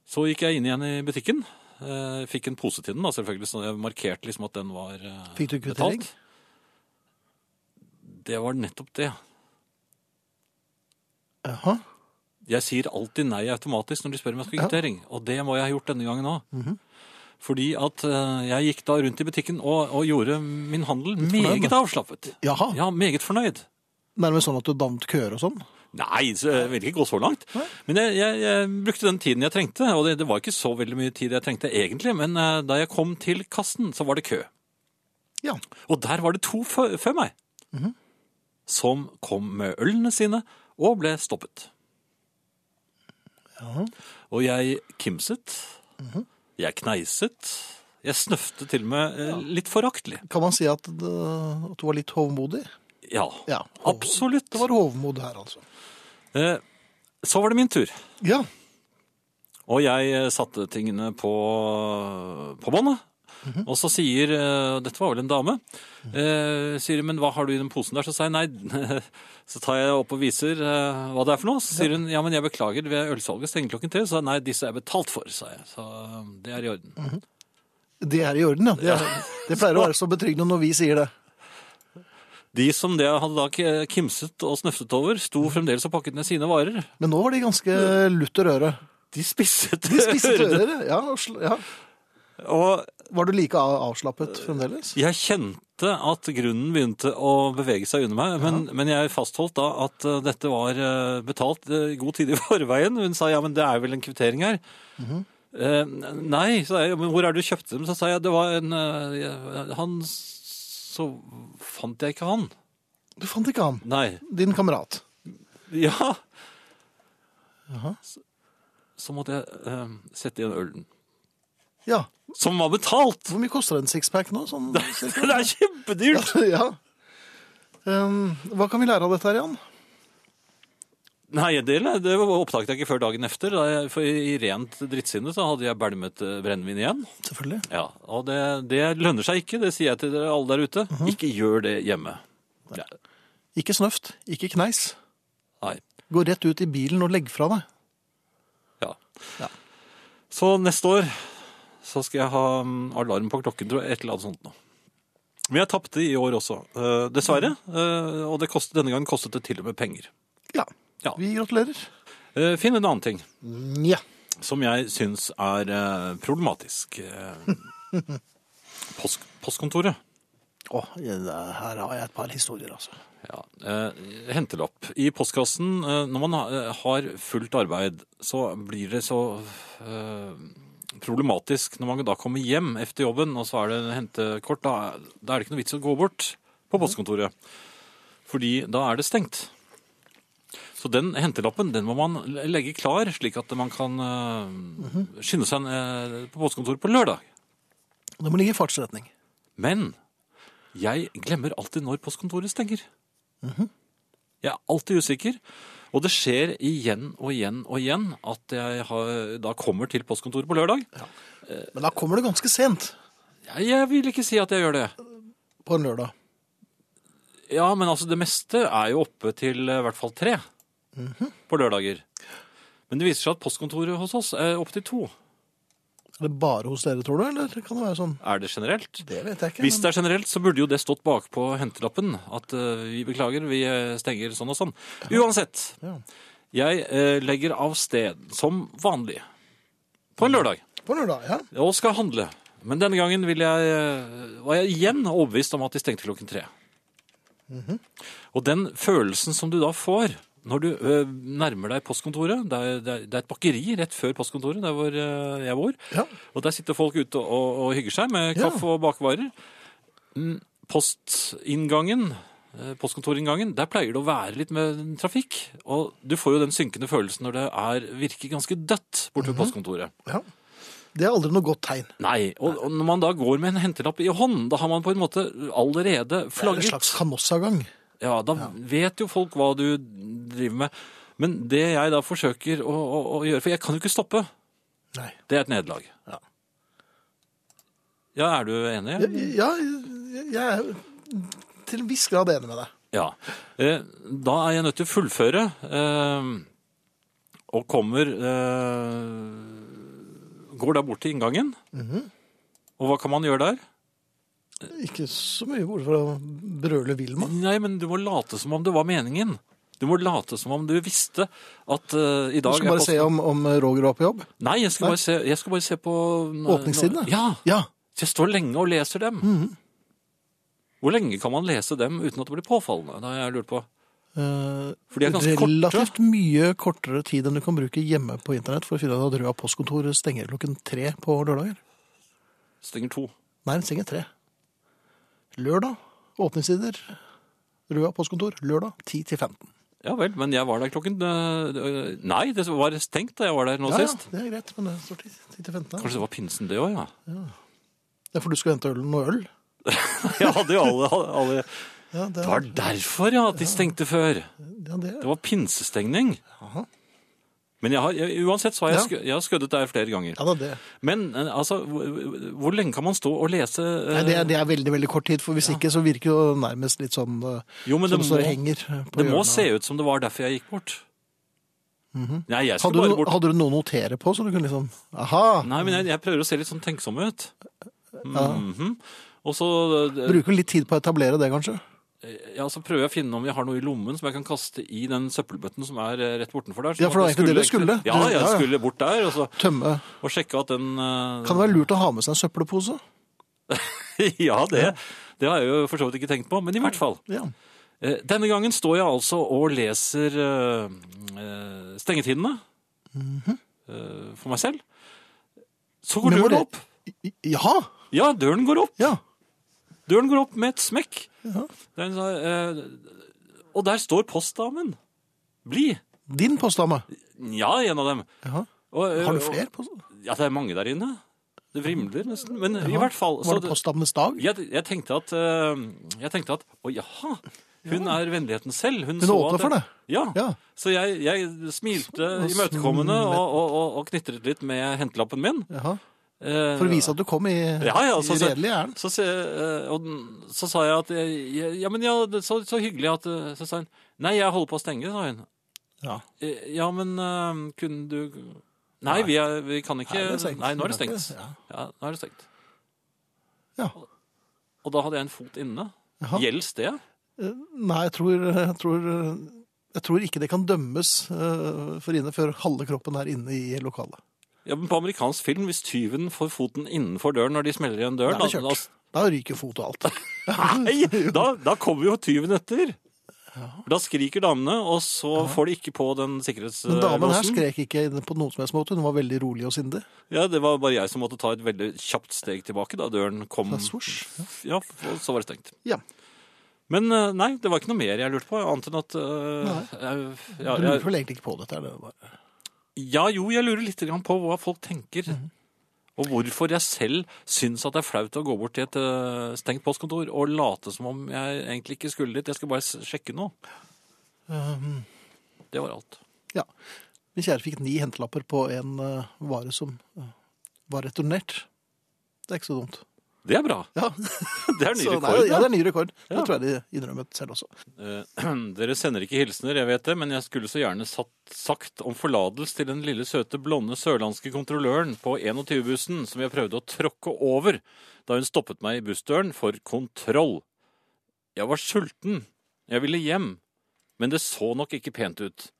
[SPEAKER 2] Så gikk jeg inn igjen i butikken. eh, fikk en pose til den, da, selvfølgelig. Så jeg markerte liksom at den var eh,
[SPEAKER 1] Fikk du kvittering?
[SPEAKER 2] betalt. Det var nettopp det.
[SPEAKER 1] Jaha.
[SPEAKER 2] Jeg sier alltid nei automatisk når de spør om jeg skal ha kvittering, og det må jeg ha gjort denne gangen òg. Fordi at eh, jeg gikk da rundt i butikken og, og gjorde min handel
[SPEAKER 1] fornøyd,
[SPEAKER 2] meget
[SPEAKER 1] da.
[SPEAKER 2] avslappet.
[SPEAKER 1] Jaha.
[SPEAKER 2] Ja, meget fornøyd.
[SPEAKER 1] Nærmest sånn at du dannet køer og sånn.
[SPEAKER 2] Nei, så jeg vil ikke gå så langt. Men jeg, jeg, jeg brukte den tiden jeg trengte, og det, det var ikke så veldig mye tid jeg trengte egentlig, men eh, da jeg kom til kassen, så var det kø.
[SPEAKER 1] Ja.
[SPEAKER 2] Og der var det to før, før meg,
[SPEAKER 1] Mhm.
[SPEAKER 2] som kom med ølene sine og ble stoppet. Og jeg kimset,
[SPEAKER 1] Mhm.
[SPEAKER 2] jeg kneiset, jeg snøfte til og med eh, litt foraktelig.
[SPEAKER 1] Kan man si at, det, at du var litt hovmodig?
[SPEAKER 2] Ja,
[SPEAKER 1] Ja.
[SPEAKER 2] absolutt.
[SPEAKER 1] Det var hovmod her, altså.
[SPEAKER 2] Eh, Så var det min tur.
[SPEAKER 1] Ja.
[SPEAKER 2] Og jeg eh, satte tingene på, på båndet. Og så sier eh, Dette var vel en dame. eh, Sier men hva har du i den posen der? Så sier jeg nei. Så tar jeg opp og viser eh, hva det er for noe. Så sier hun ja, men jeg beklager, ved ølsalget stenger klokken tre. Så nei, disse er betalt for, sa jeg. Så eh, det er i orden.
[SPEAKER 1] Det er i orden, ja. Det, er, det pleier å være så betryggende når vi sier det.
[SPEAKER 2] De som det hadde da k- eh, kimset og snøftet over, sto fremdeles og pakket ned sine varer.
[SPEAKER 1] Men nå var de ganske lutter øre.
[SPEAKER 2] De spisset,
[SPEAKER 1] De spiste
[SPEAKER 2] ørene.
[SPEAKER 1] ører, ja, og sl- ja.
[SPEAKER 2] Og
[SPEAKER 1] Var du like a- avslappet fremdeles?
[SPEAKER 2] Jeg kjente at grunnen begynte å bevege seg under meg, men, men jeg fastholdt da at eh, dette var eh, betalt eh, god tid i forveien. Hun sa ja, men det er vel en kvittering her. Eh, nei, sa jeg, men hvor er det du kjøpte dem? Så sa jeg det var en eh, Han s- Så fant jeg ikke han.
[SPEAKER 1] Du fant ikke han.
[SPEAKER 2] Nei.
[SPEAKER 1] Din kamerat.
[SPEAKER 2] Ja! Så, så måtte jeg eh, sette igjen ølen.
[SPEAKER 1] Ja.
[SPEAKER 2] Som var betalt!
[SPEAKER 1] Hvor mye koster en sixpack nå? Sånn, cirka?
[SPEAKER 2] Det er kjempedyrt!
[SPEAKER 1] ja. Um, hva kan vi lære av dette her, Jan?
[SPEAKER 2] Nei, det, det oppdaget jeg ikke før dagen efter. Da jeg, for I rent drittsinne så hadde jeg bælmet eh, brennevin igjen.
[SPEAKER 1] Selvfølgelig.
[SPEAKER 2] Ja, Og det, det lønner seg ikke, det sier jeg til dere alle der ute. Ikke gjør det hjemme. Ja,
[SPEAKER 1] Ikke snøft, ikke kneis.
[SPEAKER 2] nei,
[SPEAKER 1] Gå rett ut i bilen og legg fra deg.
[SPEAKER 2] ja.
[SPEAKER 1] Ja.
[SPEAKER 2] Så neste år så skal jeg ha mm, alarm på klokken, tror jeg. Et eller annet sånt nå. Men jeg tapte i år også, eh, dessverre. Eh, og det kostet, denne gangen kostet det til og med penger.
[SPEAKER 1] Ja.
[SPEAKER 2] Ja.
[SPEAKER 1] Vi gratulerer.
[SPEAKER 2] Eh, finn en annen ting.
[SPEAKER 1] Ja.
[SPEAKER 2] som jeg syns er eh, problematisk. Eh, Post, postkontoret.
[SPEAKER 1] Å, her har jeg et par historier, altså.
[SPEAKER 2] Ja. Eh, hentelapp. I postkassen, eh, når man ha, har fullt arbeid, så blir det så eh, problematisk når man da kommer hjem etter jobben, og så er det hentekort. Da, da er det ikke noe vits å gå bort på postkontoret, fordi da er det stengt. Så den hentelappen den må man legge klar, slik at man kan eh, skynde seg eh, på postkontoret på lørdag.
[SPEAKER 1] Det må ligge i fartsretning.
[SPEAKER 2] Men jeg glemmer alltid når postkontoret stenger. Jeg er alltid usikker. Og det skjer igjen og igjen og igjen at jeg har, da kommer til postkontoret på lørdag.
[SPEAKER 1] Men da kommer du ganske sent
[SPEAKER 2] Jeg, jeg vil ikke si at jeg gjør det.
[SPEAKER 1] på en lørdag.
[SPEAKER 2] Ja, men altså det meste er jo oppe til eh, i hvert fall tre på lørdager. Men det viser seg at postkontoret hos oss er opp til to.
[SPEAKER 1] Er det bare hos dere, tror du? Eller kan det være sånn?
[SPEAKER 2] Er det generelt?
[SPEAKER 1] Det vet jeg ikke.
[SPEAKER 2] Hvis det er generelt, så burde jo det stått bakpå hentelappen. At eh, vi beklager, vi eh, stenger sånn og sånn. Uansett. Jeg eh, legger av sted, som vanlig, på en lørdag,
[SPEAKER 1] men På en lørdag, ja.
[SPEAKER 2] og skal handle. Men denne gangen vil jeg, eh, var jeg igjen overbevist om at de stengte klokken tre. Og den følelsen som du da får når du eh, nærmer deg postkontoret det er, det, er, det er et bakeri rett før postkontoret, der hvor eh, jeg bor.
[SPEAKER 1] Ja.
[SPEAKER 2] Og der sitter folk ute og, og hygger seg med
[SPEAKER 1] Ja.
[SPEAKER 2] kaffe og bakvarer. Mm, Postinngangen, eh, postkontorinngangen, der pleier det å være litt med trafikk. Og du får jo den synkende følelsen når det er, virker ganske dødt borte ved postkontoret.
[SPEAKER 1] ja. Det er aldri noe godt tegn.
[SPEAKER 2] Nei, og, og når man da går med en hentelapp i hånden, da har man på en måte allerede
[SPEAKER 1] Det er en
[SPEAKER 2] flagget.
[SPEAKER 1] slags kanossagang.
[SPEAKER 2] Ja, da vet jo folk hva du driver med. Men det jeg da forsøker å, å, å gjøre, for jeg kan jo ikke stoppe,
[SPEAKER 1] Nei.
[SPEAKER 2] det er et nederlag.
[SPEAKER 1] Ja.
[SPEAKER 2] Ja, er du enig?
[SPEAKER 1] Ja, jeg er til en viss grad enig med deg.
[SPEAKER 2] Ja. Eh, Da er jeg nødt til å fullføre, eh, og kommer eh, Går da bort til inngangen.
[SPEAKER 1] Mhm.
[SPEAKER 2] Og hva kan man gjøre der?
[SPEAKER 1] Ikke så mye ord for å brøle Vilma.
[SPEAKER 2] Nei, men du må late som om det var meningen. Du må late som om du visste at eh, i
[SPEAKER 1] Du
[SPEAKER 2] dag
[SPEAKER 1] skal bare se om, om Roger var på jobb.
[SPEAKER 2] Nei, jeg skal, bare se, jeg skal bare se på mm,
[SPEAKER 1] Åpningssidene? Mhm.
[SPEAKER 2] Ja.
[SPEAKER 1] Ja.
[SPEAKER 2] Så jeg står lenge og leser dem. Hvor lenge kan man lese dem uten at det blir påfallende? Det har jeg lurt på.
[SPEAKER 1] Eh,
[SPEAKER 2] For de er ganske korte.
[SPEAKER 1] relativt mye kortere tid enn du kan bruke hjemme på internett for å finne ut at Røa postkontor stenger klokken tre på lørdager.
[SPEAKER 2] Stenger to.
[SPEAKER 1] Nei, den stenger tre. Lørdag, åpningstider. Røa postkontor, lørdag 10 til 15.
[SPEAKER 2] Ja vel, men jeg var der klokken eh, Nei, det var stengt da jeg var der nå
[SPEAKER 1] Ja, ja,
[SPEAKER 2] sist.
[SPEAKER 1] det er greit, men det står 10 10 til 15.
[SPEAKER 2] Kanskje det var pinsen det òg, ja.
[SPEAKER 1] Det er for du skal hente ølen og øl.
[SPEAKER 2] Jeg hadde jo alle, alle
[SPEAKER 1] Ja, det
[SPEAKER 2] Det
[SPEAKER 1] er,
[SPEAKER 2] var derfor, ja, at de stengte før.
[SPEAKER 1] ja, det
[SPEAKER 2] Det
[SPEAKER 1] er.
[SPEAKER 2] var pinsestengning. Men jeg har, jeg, uansett så har jeg,
[SPEAKER 1] Ja.
[SPEAKER 2] skø- jeg har skøddet der flere ganger.
[SPEAKER 1] Ja, da, det.
[SPEAKER 2] Men eh, altså, hvor, hvor lenge kan man stå og lese eh,
[SPEAKER 1] Nei, det, er, det er veldig veldig kort tid, for hvis ikke så virker det jo nærmest litt sånn eh,
[SPEAKER 2] Jo, men
[SPEAKER 1] som
[SPEAKER 2] det
[SPEAKER 1] står
[SPEAKER 2] må-
[SPEAKER 1] og henger på
[SPEAKER 2] Det må
[SPEAKER 1] hjørnet. Mhm.
[SPEAKER 2] se ut som det var derfor jeg gikk bort. Nei, jeg skulle
[SPEAKER 1] Hadde du,
[SPEAKER 2] bare bort.
[SPEAKER 1] hadde du noe å notere på, så du kunne liksom Aha!
[SPEAKER 2] Nei, men jeg, jeg prøver å se litt sånn tenksom ut.
[SPEAKER 1] Ja.
[SPEAKER 2] Mhm. Og så, eh,
[SPEAKER 1] Bruker litt tid på å etablere det, kanskje.
[SPEAKER 2] ja, så prøver jeg å finne om jeg har noe i lommen som jeg kan kaste i den søppelbøtten som er eh, rett bortenfor der. sånn
[SPEAKER 1] Ja, for det var
[SPEAKER 2] at jeg
[SPEAKER 1] egentlig det du skulle.
[SPEAKER 2] Ja,
[SPEAKER 1] Du-
[SPEAKER 2] jeg
[SPEAKER 1] ja, ja.
[SPEAKER 2] skulle bort der og, så,
[SPEAKER 1] Tømme.
[SPEAKER 2] og sjekke at den eh,
[SPEAKER 1] Kan det være lurt å ha med seg en søppelpose?
[SPEAKER 2] Ja, det, det har jeg jo for så vidt ikke tenkt på, men i hvert fall.
[SPEAKER 1] Ja.
[SPEAKER 2] Eh, Denne gangen står jeg altså og leser eh, eh, stengetidene
[SPEAKER 1] Mhm.
[SPEAKER 2] eh, for meg selv. Så går
[SPEAKER 1] Men var
[SPEAKER 2] døren
[SPEAKER 1] det-
[SPEAKER 2] opp.
[SPEAKER 1] Ja!
[SPEAKER 2] Ja, døren går opp.
[SPEAKER 1] ja.
[SPEAKER 2] Døren går opp med et smekk.
[SPEAKER 1] Ja.
[SPEAKER 2] Den sa, eh, og der står postdamen. Bli.
[SPEAKER 1] Din postdame.
[SPEAKER 2] Ja, en av dem.
[SPEAKER 1] Jaha.
[SPEAKER 2] Og, eh,
[SPEAKER 1] Har du
[SPEAKER 2] og-
[SPEAKER 1] flere? post-
[SPEAKER 2] Ja, det er mange der inne. Det vrimler nesten. Men i hvert fall så
[SPEAKER 1] Var det postdamenes dag?
[SPEAKER 2] jeg, jeg tenkte at eh, Jeg tenkte at Å jaha, hun er vennligheten selv. Hun,
[SPEAKER 1] Hun
[SPEAKER 2] så
[SPEAKER 1] åpna
[SPEAKER 2] at-
[SPEAKER 1] for det.
[SPEAKER 2] Ja.
[SPEAKER 1] Ja.
[SPEAKER 2] Så jeg, jeg smilte imøtekommende og, og, og, og knitret litt med hentelappen min.
[SPEAKER 1] Jaha.
[SPEAKER 2] Eh,
[SPEAKER 1] For å vise at du kom i,
[SPEAKER 2] ja, ja,
[SPEAKER 1] i redelig ærend.
[SPEAKER 2] Så, se- eh, og den- så sa jeg at jeg- jeg- Ja, men ja, det- så, så hyggelig at eh, Så sa hun Nei, jeg holder på å stenge, sa hun.
[SPEAKER 1] Ja.
[SPEAKER 2] «Eh, Ja, men eh, kunne du Nei, vi, er, vi kan ikke
[SPEAKER 1] Nei, det er stengt.
[SPEAKER 2] Nei, nå er det stengt.
[SPEAKER 1] Ja.
[SPEAKER 2] Ja, nå er det stengt.
[SPEAKER 1] Ja.
[SPEAKER 2] Og da hadde jeg en fot inne.
[SPEAKER 1] Jaha.
[SPEAKER 2] Gjelds det?
[SPEAKER 1] Eh, Nei, jeg tror, jeg tror jeg tror ikke det kan dømmes eh, for inne før halve kroppen er inne i lokalet.
[SPEAKER 2] Ja, men På amerikansk film, hvis tyven får foten innenfor døren når de smeller igjen
[SPEAKER 1] Da
[SPEAKER 2] døren
[SPEAKER 1] er det kjørt. Da ryker fot og alt.
[SPEAKER 2] Nei, da, da kommer jo tyven etter! Da skriker damene, og så får de ikke på den
[SPEAKER 1] Men
[SPEAKER 2] sikkerhetslåsen.
[SPEAKER 1] damen her skrek ikke på noen som helst måte. Hun var veldig rolig og sindig.
[SPEAKER 2] Ja, Det var bare jeg som måtte ta et veldig kjapt steg tilbake da døren kom.
[SPEAKER 1] Da svosj.
[SPEAKER 2] Ja, og så var det stengt.
[SPEAKER 1] Ja.
[SPEAKER 2] Men eh, nei, det var ikke noe mer jeg lurte på, annet enn at eh, jeg, ja,
[SPEAKER 1] Du
[SPEAKER 2] jeg,
[SPEAKER 1] lurer vel egentlig ikke på dette? Er det bare.
[SPEAKER 2] Ja, jo, jeg lurer litt grann på hva folk tenker.
[SPEAKER 1] Mhm.
[SPEAKER 2] Og hvorfor jeg selv syns at det er flaut å gå bort til et øh, stengt postkontor og late som om jeg egentlig ikke skulle dit. Jeg skal bare s- sjekke noe.
[SPEAKER 1] Um,
[SPEAKER 2] Det var alt.
[SPEAKER 1] ja. Min kjære fikk ni hentelapper på en eh, vare som eh, var returnert. Det er ikke så dumt.
[SPEAKER 2] Det er bra.
[SPEAKER 1] Ja,
[SPEAKER 2] Det er ny
[SPEAKER 1] så,
[SPEAKER 2] rekord.
[SPEAKER 1] Nei, ja det er ny rekord.
[SPEAKER 2] Ja.
[SPEAKER 1] Det tror jeg de innrømmet selv også.
[SPEAKER 2] Eh, Dere sender ikke hilsener, jeg vet det, men jeg skulle så gjerne satt, sagt om forlatelse til den lille søte blonde sørlandske kontrolløren på 21-bussen som jeg prøvde å tråkke over da hun stoppet meg i bussdøren for kontroll. Jeg var sulten, jeg ville hjem, men det så nok ikke pent ut.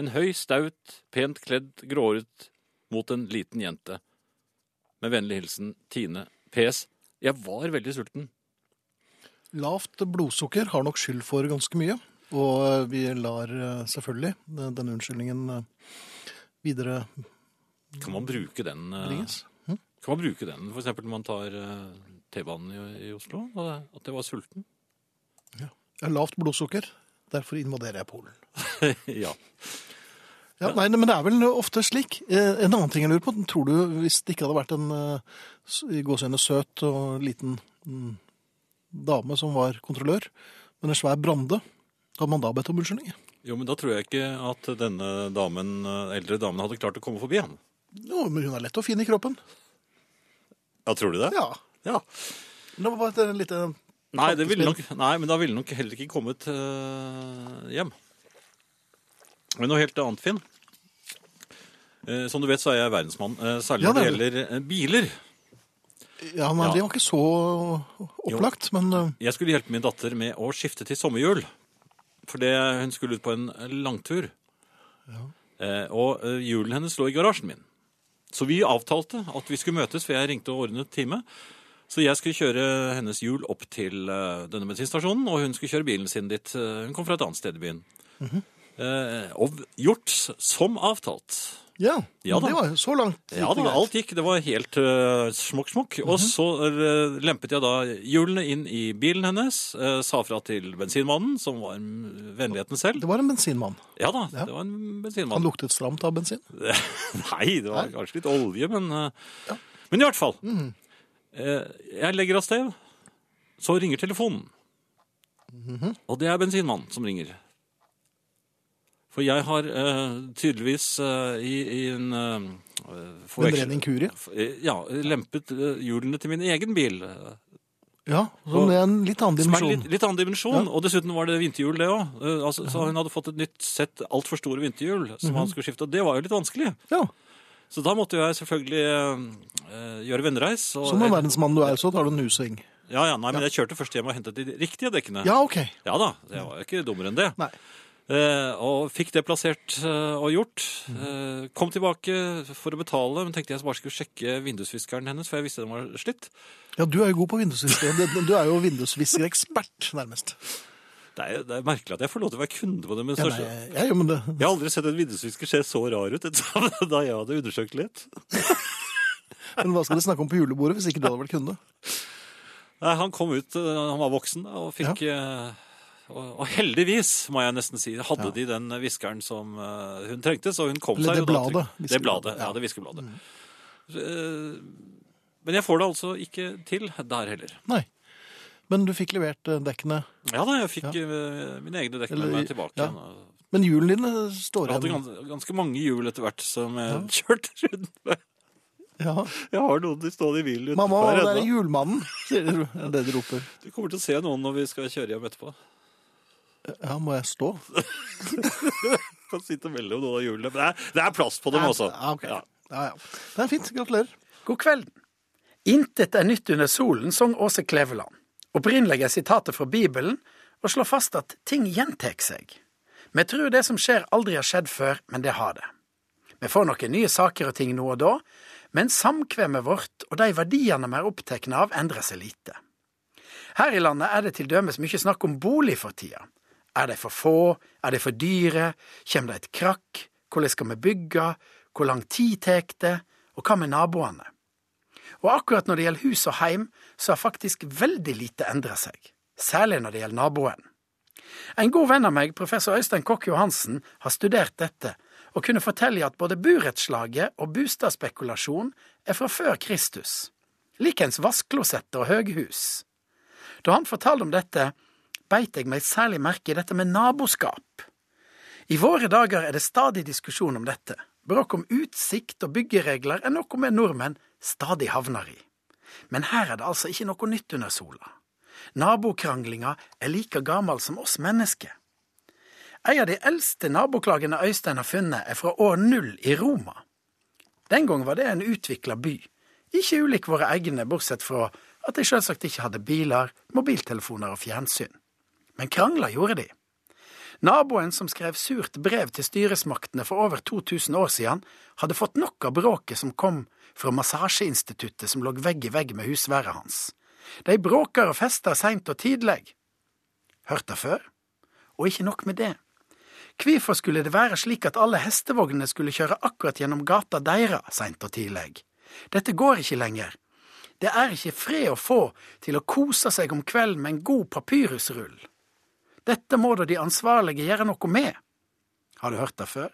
[SPEAKER 2] En høy, staut, pent kledd, gråhåret mot en liten jente. Med vennlig hilsen Tine. PS. Jeg var veldig sulten.
[SPEAKER 1] Lavt blodsukker har nok skyld for ganske mye. Og eh, vi lar eh, selvfølgelig eh, denne unnskyldningen eh, videre
[SPEAKER 2] Kan man bruke den? eh,
[SPEAKER 1] bringes.
[SPEAKER 2] Kan man bruke den for eksempel når man tar eh, T-banen i, i Oslo? og- At jeg var sulten?
[SPEAKER 1] Jeg har lavt blodsukker, derfor invaderer jeg Polen.
[SPEAKER 2] ja.
[SPEAKER 1] Ja, nei, men det er vel ofte slik. Eh, En annen ting jeg lurer på, tror du hvis det ikke hadde vært en eh, s- i gåseøyne søt og liten mm, dame som var kontrollør, men en svær brande, hadde man da bedt om unnskyldning?
[SPEAKER 2] Jo, men da tror jeg ikke at denne damen, eh, eldre damen hadde klart å komme forbi han.
[SPEAKER 1] Jo, men hun er lett og fin i kroppen.
[SPEAKER 2] Ja, tror du det?
[SPEAKER 1] Ja. Det var bare et lite
[SPEAKER 2] Nei, det ville nok, nei, men da ville nok heller ikke kommet eh, hjem. Men noe helt annet, Finn. Eh, som du vet, så er jeg verdensmann, eh, særlig
[SPEAKER 1] Ja,
[SPEAKER 2] når det
[SPEAKER 1] det
[SPEAKER 2] gjelder eh, biler.
[SPEAKER 1] Ja, nei,
[SPEAKER 2] Ja.
[SPEAKER 1] det var ikke så opplagt, men eh,
[SPEAKER 2] Jeg skulle hjelpe min datter med å skifte til sommerhjul. fordi hun skulle ut på en langtur. Eh, og eh, hjulen hennes lå i garasjen min. Så vi avtalte at vi skulle møtes, for jeg ringte og ordnet time. Så jeg skulle kjøre hennes hjul opp til eh, denne bensinstasjonen, og hun skulle kjøre bilen sin dit. Eh, Hun kom fra et annet sted i byen. Eh, og gjort s- som avtalt.
[SPEAKER 1] Ja,
[SPEAKER 2] Ja da.
[SPEAKER 1] det var jo så langt.
[SPEAKER 2] Ja
[SPEAKER 1] gikk det
[SPEAKER 2] da,
[SPEAKER 1] greit.
[SPEAKER 2] alt gikk. Det var helt eh, smokk, smokk. Og
[SPEAKER 1] Mhm.
[SPEAKER 2] så eh, lempet jeg da hjulene inn i bilen hennes, eh, sa fra til bensinmannen, som var mm, vennligheten selv.
[SPEAKER 1] Det var en bensinmann.
[SPEAKER 2] Ja da,
[SPEAKER 1] Ja.
[SPEAKER 2] det var en
[SPEAKER 1] Han
[SPEAKER 2] bensinmann.
[SPEAKER 1] luktet stramt av bensin.
[SPEAKER 2] Nei, det var kanskje litt olje, men eh, Men i hvert fall.
[SPEAKER 1] Mhm.
[SPEAKER 2] Eh, jeg legger av sted, så ringer telefonen.
[SPEAKER 1] Mhm.
[SPEAKER 2] Og det er bensinmannen som ringer. For jeg har eh, tydeligvis eh, i, i en eh,
[SPEAKER 1] En
[SPEAKER 2] forveksling-
[SPEAKER 1] ren inkurie.
[SPEAKER 2] Eh, Ja, lempet eh, hjulene til min egen bil. eh,
[SPEAKER 1] Ja, som det er en litt annen
[SPEAKER 2] Som er
[SPEAKER 1] dimensjon.
[SPEAKER 2] litt, litt annen dimensjon. Og dessuten var det vinterhjul, det òg. Altså, så hun hadde fått et nytt sett altfor store vinterhjul
[SPEAKER 1] Mhm.
[SPEAKER 2] som han skulle skifte. Og det var jo litt vanskelig.
[SPEAKER 1] Ja,
[SPEAKER 2] Så da måtte jeg selvfølgelig eh, eh, gjøre vennereis. Og,
[SPEAKER 1] Som en verdensmann du er, så tar du en U-sving.
[SPEAKER 2] Ja, ja, nei, men jeg kjørte først hjem og hentet de riktige dekkene.
[SPEAKER 1] Ja, OK.
[SPEAKER 2] Ja da, jeg var jo ikke dummere enn det.
[SPEAKER 1] Nei.
[SPEAKER 2] Eh, og fikk det plassert eh, og gjort.
[SPEAKER 1] Mhm.
[SPEAKER 2] Eh, kom tilbake for å betale, men tenkte jeg bare skulle sjekke vindusviskeren hennes, for jeg visste den var slitt.
[SPEAKER 1] Ja, du er jo god på vindusvisker. Du- Du er jo vindusviskerekspert, nærmest.
[SPEAKER 2] Det er, det er merkelig at jeg får lov til å være kunde på det. Men
[SPEAKER 1] Ja,
[SPEAKER 2] så-
[SPEAKER 1] nei, ja, jo, men det,
[SPEAKER 2] Jeg har aldri sett en vindusvisker se så rar ut etter da jeg hadde undersøkt litt.
[SPEAKER 1] men hva skal du snakke om på julebordet hvis ikke du hadde vært kunde?
[SPEAKER 2] Nei, han kom ut, eh, han var voksen da, og fikk eh, og, og heldigvis, må jeg nesten si, hadde de den viskeren som eh, hun trengte, så hun kom
[SPEAKER 1] Eller
[SPEAKER 2] seg
[SPEAKER 1] det
[SPEAKER 2] jo da til-
[SPEAKER 1] bladet,
[SPEAKER 2] Det
[SPEAKER 1] viskebladet,
[SPEAKER 2] bladet, ja,
[SPEAKER 1] ja. Mm.
[SPEAKER 2] det viskebladet. Eh, Men jeg får det altså ikke til der heller.
[SPEAKER 1] Nei. Men du fikk levert eh, dekkene.
[SPEAKER 2] Ja da, jeg fikk eh, mine egne dekk med
[SPEAKER 1] Eller-
[SPEAKER 2] meg tilbake
[SPEAKER 1] ja.
[SPEAKER 2] igjen.
[SPEAKER 1] Men hjulene dine står
[SPEAKER 2] Jeg hadde
[SPEAKER 1] igjen.
[SPEAKER 2] gans, ganske mange hjul etter hvert som jeg kjørte rundt med.
[SPEAKER 1] Ja.
[SPEAKER 2] Jeg har noen de stående i bilen
[SPEAKER 1] Mamma,
[SPEAKER 2] utenfor
[SPEAKER 1] der er
[SPEAKER 2] ennå.
[SPEAKER 1] julemannen, sier de, er det de roper.
[SPEAKER 2] Du kommer til å se noen når vi skal kjøre hjem etterpå.
[SPEAKER 1] Ja, må jeg stå?
[SPEAKER 2] kan sitte mellom noen av hjulene. Men det er, det er plass på dem også.
[SPEAKER 1] Ja, ok.
[SPEAKER 2] Ja.
[SPEAKER 1] Ja, ja. Det er fint. Gratulerer.
[SPEAKER 6] God kveld. Intet er nytt under solen, sang Åse Kleveland. Opprinnelig er sitatet fra Bibelen og slår fast at ting gjentar seg. Vi tror det som skjer aldri har skjedd før, men det har det. Vi får noen nye saker og ting nå og da, men samkvemmet vårt og de verdiene vi er opptatt av, endrer seg lite. Her i landet er det til dømes mye snakk om bolig for tida. Er de for få? Er de for dyre? Kjem det et krakk? Hvordan skal vi bygge? Hvor lang tid tek det? Og hva med naboene? Og akkurat når det gjelder hus og heim, så har faktisk veldig lite endra seg. Særlig når det gjelder naboen. En god venn av meg, professor Øystein Kokk Johansen, har studert dette, og kunne fortelle at både burettslaget og bostadspekulasjon er fra før Kristus. Likens vassklosetter og høghus. Da han fortalte om dette, beit jeg meg særlig merke i dette med naboskap. I våre dager er det stadig diskusjon om dette. Bråk om utsikt og byggeregler er noe vi nordmenn stadig havner i. Men her er det altså ikke noe nytt under sola. Nabokranglinga er like gammel som oss mennesker. En av de eldste naboklagene Øystein har funnet, er fra år null i Roma. Den gang var det en utvikla by, ikke ulik våre egne, bortsett fra at de selvsagt ikke hadde biler, mobiltelefoner og fjernsyn. Men krangler gjorde de. Naboen som skrev surt brev til styresmaktene for over 2000 år siden, hadde fått nok av bråket som kom fra massasjeinstituttet som lå vegg i vegg med husværet hans. De bråker og fester seint og tidlig. Hørt det før? Og ikke nok med det. Hvorfor skulle det være slik at alle hestevognene skulle kjøre akkurat gjennom gata deira seint og tidlig? Dette går ikke lenger. Det er ikke fred å få til å kose seg om kvelden med en god papyrusrull. Dette må da de ansvarlige gjøre noe med. Har du hørt det før?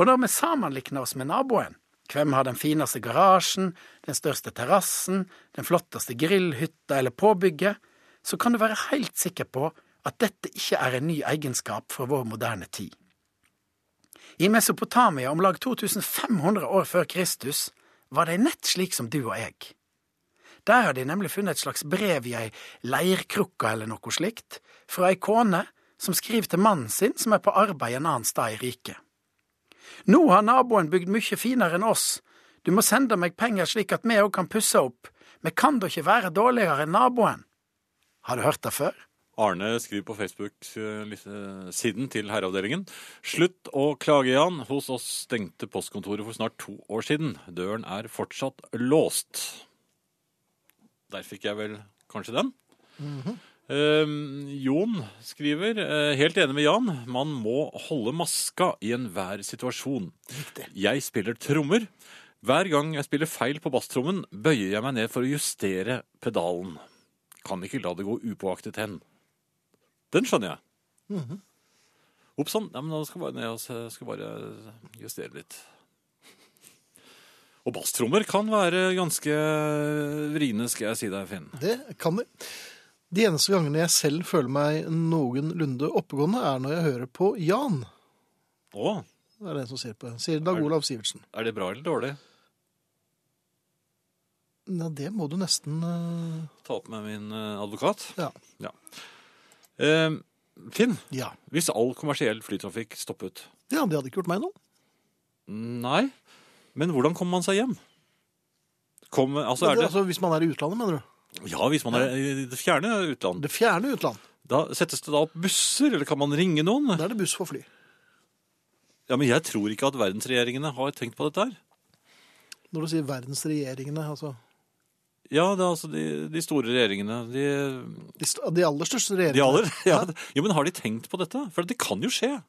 [SPEAKER 6] Og når vi sammenlikner oss med naboen, hvem har den fineste garasjen, den største terrassen, den flotteste grillhytta eller påbygget, så kan du være helt sikker på at dette ikke er en ny egenskap for vår moderne tid. I Mesopotamia om lag 2500 år før Kristus var de nett slik som du og jeg. Der har de nemlig funnet et slags brev i ei leirkrukke eller noe slikt, fra ei kone som skriver til mannen sin som er på arbeid en annen sted i riket. Nå har naboen bygd mye finere enn oss, du må sende meg penger slik at vi òg kan pusse opp, vi kan da ikke være dårligere enn naboen. Har du hørt det før?
[SPEAKER 2] Arne skriver på Facebook-siden til Herreavdelingen. Slutt å klage, Jan. Hos oss stengte postkontoret for snart to år siden. Døren er fortsatt låst. Der fikk jeg vel kanskje den. Eh, Jon skriver eh, helt enig med Jan. Man må holde maska i enhver situasjon. Jeg spiller trommer. Hver gang jeg spiller feil på basstrommen, bøyer jeg meg ned for å justere pedalen. Kan ikke la det gå upåaktet hen. Den skjønner jeg. Mhm. Opp sann. Ja, men da skal jeg bare ned og se- skal bare justere litt. Og basstrommer kan være ganske vriene, skal jeg si deg, Finn.
[SPEAKER 1] Det kan de. De eneste gangene jeg selv føler meg noenlunde oppegående, er når jeg hører på Jan.
[SPEAKER 2] Å,
[SPEAKER 1] Det er den som sier på det. Sier Dag Olav Sivertsen.
[SPEAKER 2] er det bra eller dårlig?
[SPEAKER 1] Ja, det må du nesten eh,
[SPEAKER 2] Ta opp med min eh, advokat.
[SPEAKER 1] Ja.
[SPEAKER 2] Eh, Finn,
[SPEAKER 1] Ja,
[SPEAKER 2] hvis all kommersiell flytrafikk stoppet
[SPEAKER 1] ja det hadde ikke gjort meg noe.
[SPEAKER 2] Nei, men hvordan kommer man seg hjem? Kom, altså,
[SPEAKER 1] Men
[SPEAKER 2] er
[SPEAKER 1] det,
[SPEAKER 2] det,
[SPEAKER 1] altså, hvis man er i utlandet, mener du?
[SPEAKER 2] ja, hvis man er i det fjerne utland,
[SPEAKER 1] Det fjerne utland.
[SPEAKER 2] da settes det da opp busser, eller kan man ringe noen?
[SPEAKER 1] Da er det buss for fly.
[SPEAKER 2] Ja, men jeg tror ikke at verdensregjeringene har tenkt på dette her.
[SPEAKER 1] Når du sier verdensregjeringene, altså
[SPEAKER 2] Ja, det er altså de, de store regjeringene, de,
[SPEAKER 1] De, st de aller største
[SPEAKER 2] de
[SPEAKER 1] regjeringene.
[SPEAKER 2] aller. Ja, jo, men har de tenkt på dette? For det kan jo skje.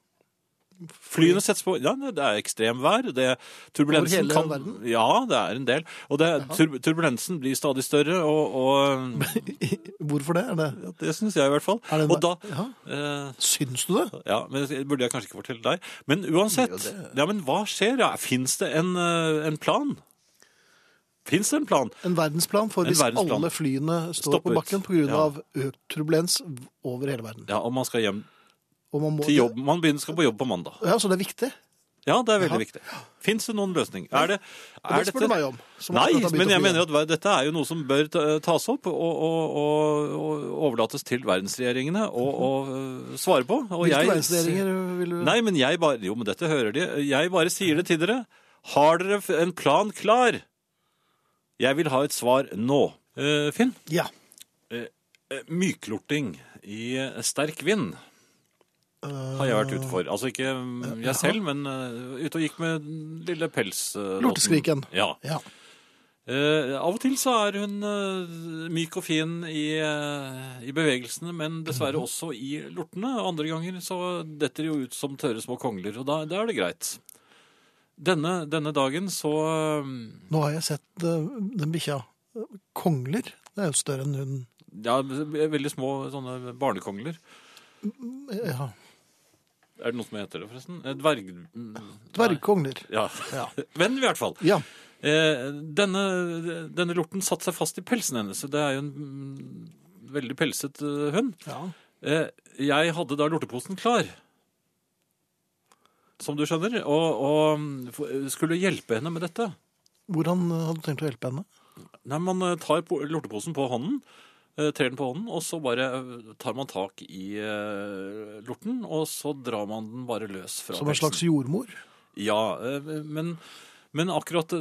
[SPEAKER 2] Flyene settes på, ja, det er ekstremvær, det er turbulensen
[SPEAKER 1] hele
[SPEAKER 2] kan...
[SPEAKER 1] verden?
[SPEAKER 2] Ja, det er en del. Og det, er- tur, turbulensen blir stadig større, og, og
[SPEAKER 1] Hvorfor det? Er det?
[SPEAKER 2] ja, det synes jeg i hvert fall.
[SPEAKER 1] Er det en-
[SPEAKER 2] Og da...
[SPEAKER 1] ja.
[SPEAKER 2] Eh,
[SPEAKER 1] Syns du det?
[SPEAKER 2] Ja, men det burde jeg kanskje ikke fortelle deg. Men uansett, ja, men hva skjer? Ja, Fins det en, eh, en plan? Fins det en plan?
[SPEAKER 1] En verdensplan for
[SPEAKER 2] En
[SPEAKER 1] hvis
[SPEAKER 2] verdensplan.
[SPEAKER 1] alle flyene står
[SPEAKER 2] Stoppet.
[SPEAKER 1] på bakken pga.
[SPEAKER 2] Ja.
[SPEAKER 1] av økt turbulens over hele verden.
[SPEAKER 2] Ja, og man skal hjem
[SPEAKER 1] Og man må,
[SPEAKER 2] til jobb. Man begynner skal på jobb på mandag.
[SPEAKER 1] Ja, Så det er viktig?
[SPEAKER 2] Ja, det er veldig viktig. Fins det noen løsning? Er det,
[SPEAKER 1] Og
[SPEAKER 2] er
[SPEAKER 1] det spør du meg om. som
[SPEAKER 2] Nei,
[SPEAKER 1] akkurat har begynt
[SPEAKER 2] men
[SPEAKER 1] å
[SPEAKER 2] jeg
[SPEAKER 1] fly.
[SPEAKER 2] mener at ver- dette er jo noe som bør ta- tas opp og, og, og, og overlates til verdensregjeringene å å, øh, svare på. Og
[SPEAKER 1] Hvilke
[SPEAKER 2] jeg-
[SPEAKER 1] verdensregjeringer vil du
[SPEAKER 2] Nei, men jeg bare Jo, men dette hører de. Jeg bare sier det til dere. Har dere f- en plan klar? Jeg vil ha et svar nå. Eh, Finn?
[SPEAKER 1] Ja.
[SPEAKER 2] Eh, Myklorting i eh, sterk vind har jeg vært ute for. Altså ikke mm, jeg selv, men eh, ute og gikk med den lille pels... eh, låten.
[SPEAKER 1] Lorteskriken.
[SPEAKER 2] Ja.
[SPEAKER 1] ja.
[SPEAKER 2] Eh, av og til så er hun eh, myk og fin i, eh, i bevegelsene, men dessverre også i lortene. Andre ganger så detter det jo ut som tørre små kongler, og da, da er det greit. Denne, denne dagen så eh,
[SPEAKER 1] Nå har jeg sett eh, den bikkja. Kongler. Det er jo større enn hun
[SPEAKER 2] Ja, veldig små sånne barnekongler.
[SPEAKER 1] ja.
[SPEAKER 2] Er det noe som heter det, forresten? Eh, Dverg...
[SPEAKER 1] Dvergkongler.
[SPEAKER 2] Ja.
[SPEAKER 1] Ja.
[SPEAKER 2] Men i hvert fall.
[SPEAKER 1] Ja.
[SPEAKER 2] Eh, denne, denne lorten satte seg fast i pelsen hennes. Det er jo en mm, veldig pelset eh, hund.
[SPEAKER 1] ja.
[SPEAKER 2] Eh, Jeg hadde da lorteposen klar. Som du skjønner. Og, og f- skulle hjelpe henne med dette.
[SPEAKER 1] Hvordan eh, hadde du tenkt å hjelpe henne?
[SPEAKER 2] Nei, Man eh, tar po- lorteposen på hånden, eh, trer den på hånden, og så bare eh, tar man tak i eh, lorten, og så drar man den bare løs fra
[SPEAKER 1] Som en
[SPEAKER 2] pelsen.
[SPEAKER 1] slags jordmor?
[SPEAKER 2] Ja, eh, men, men akkurat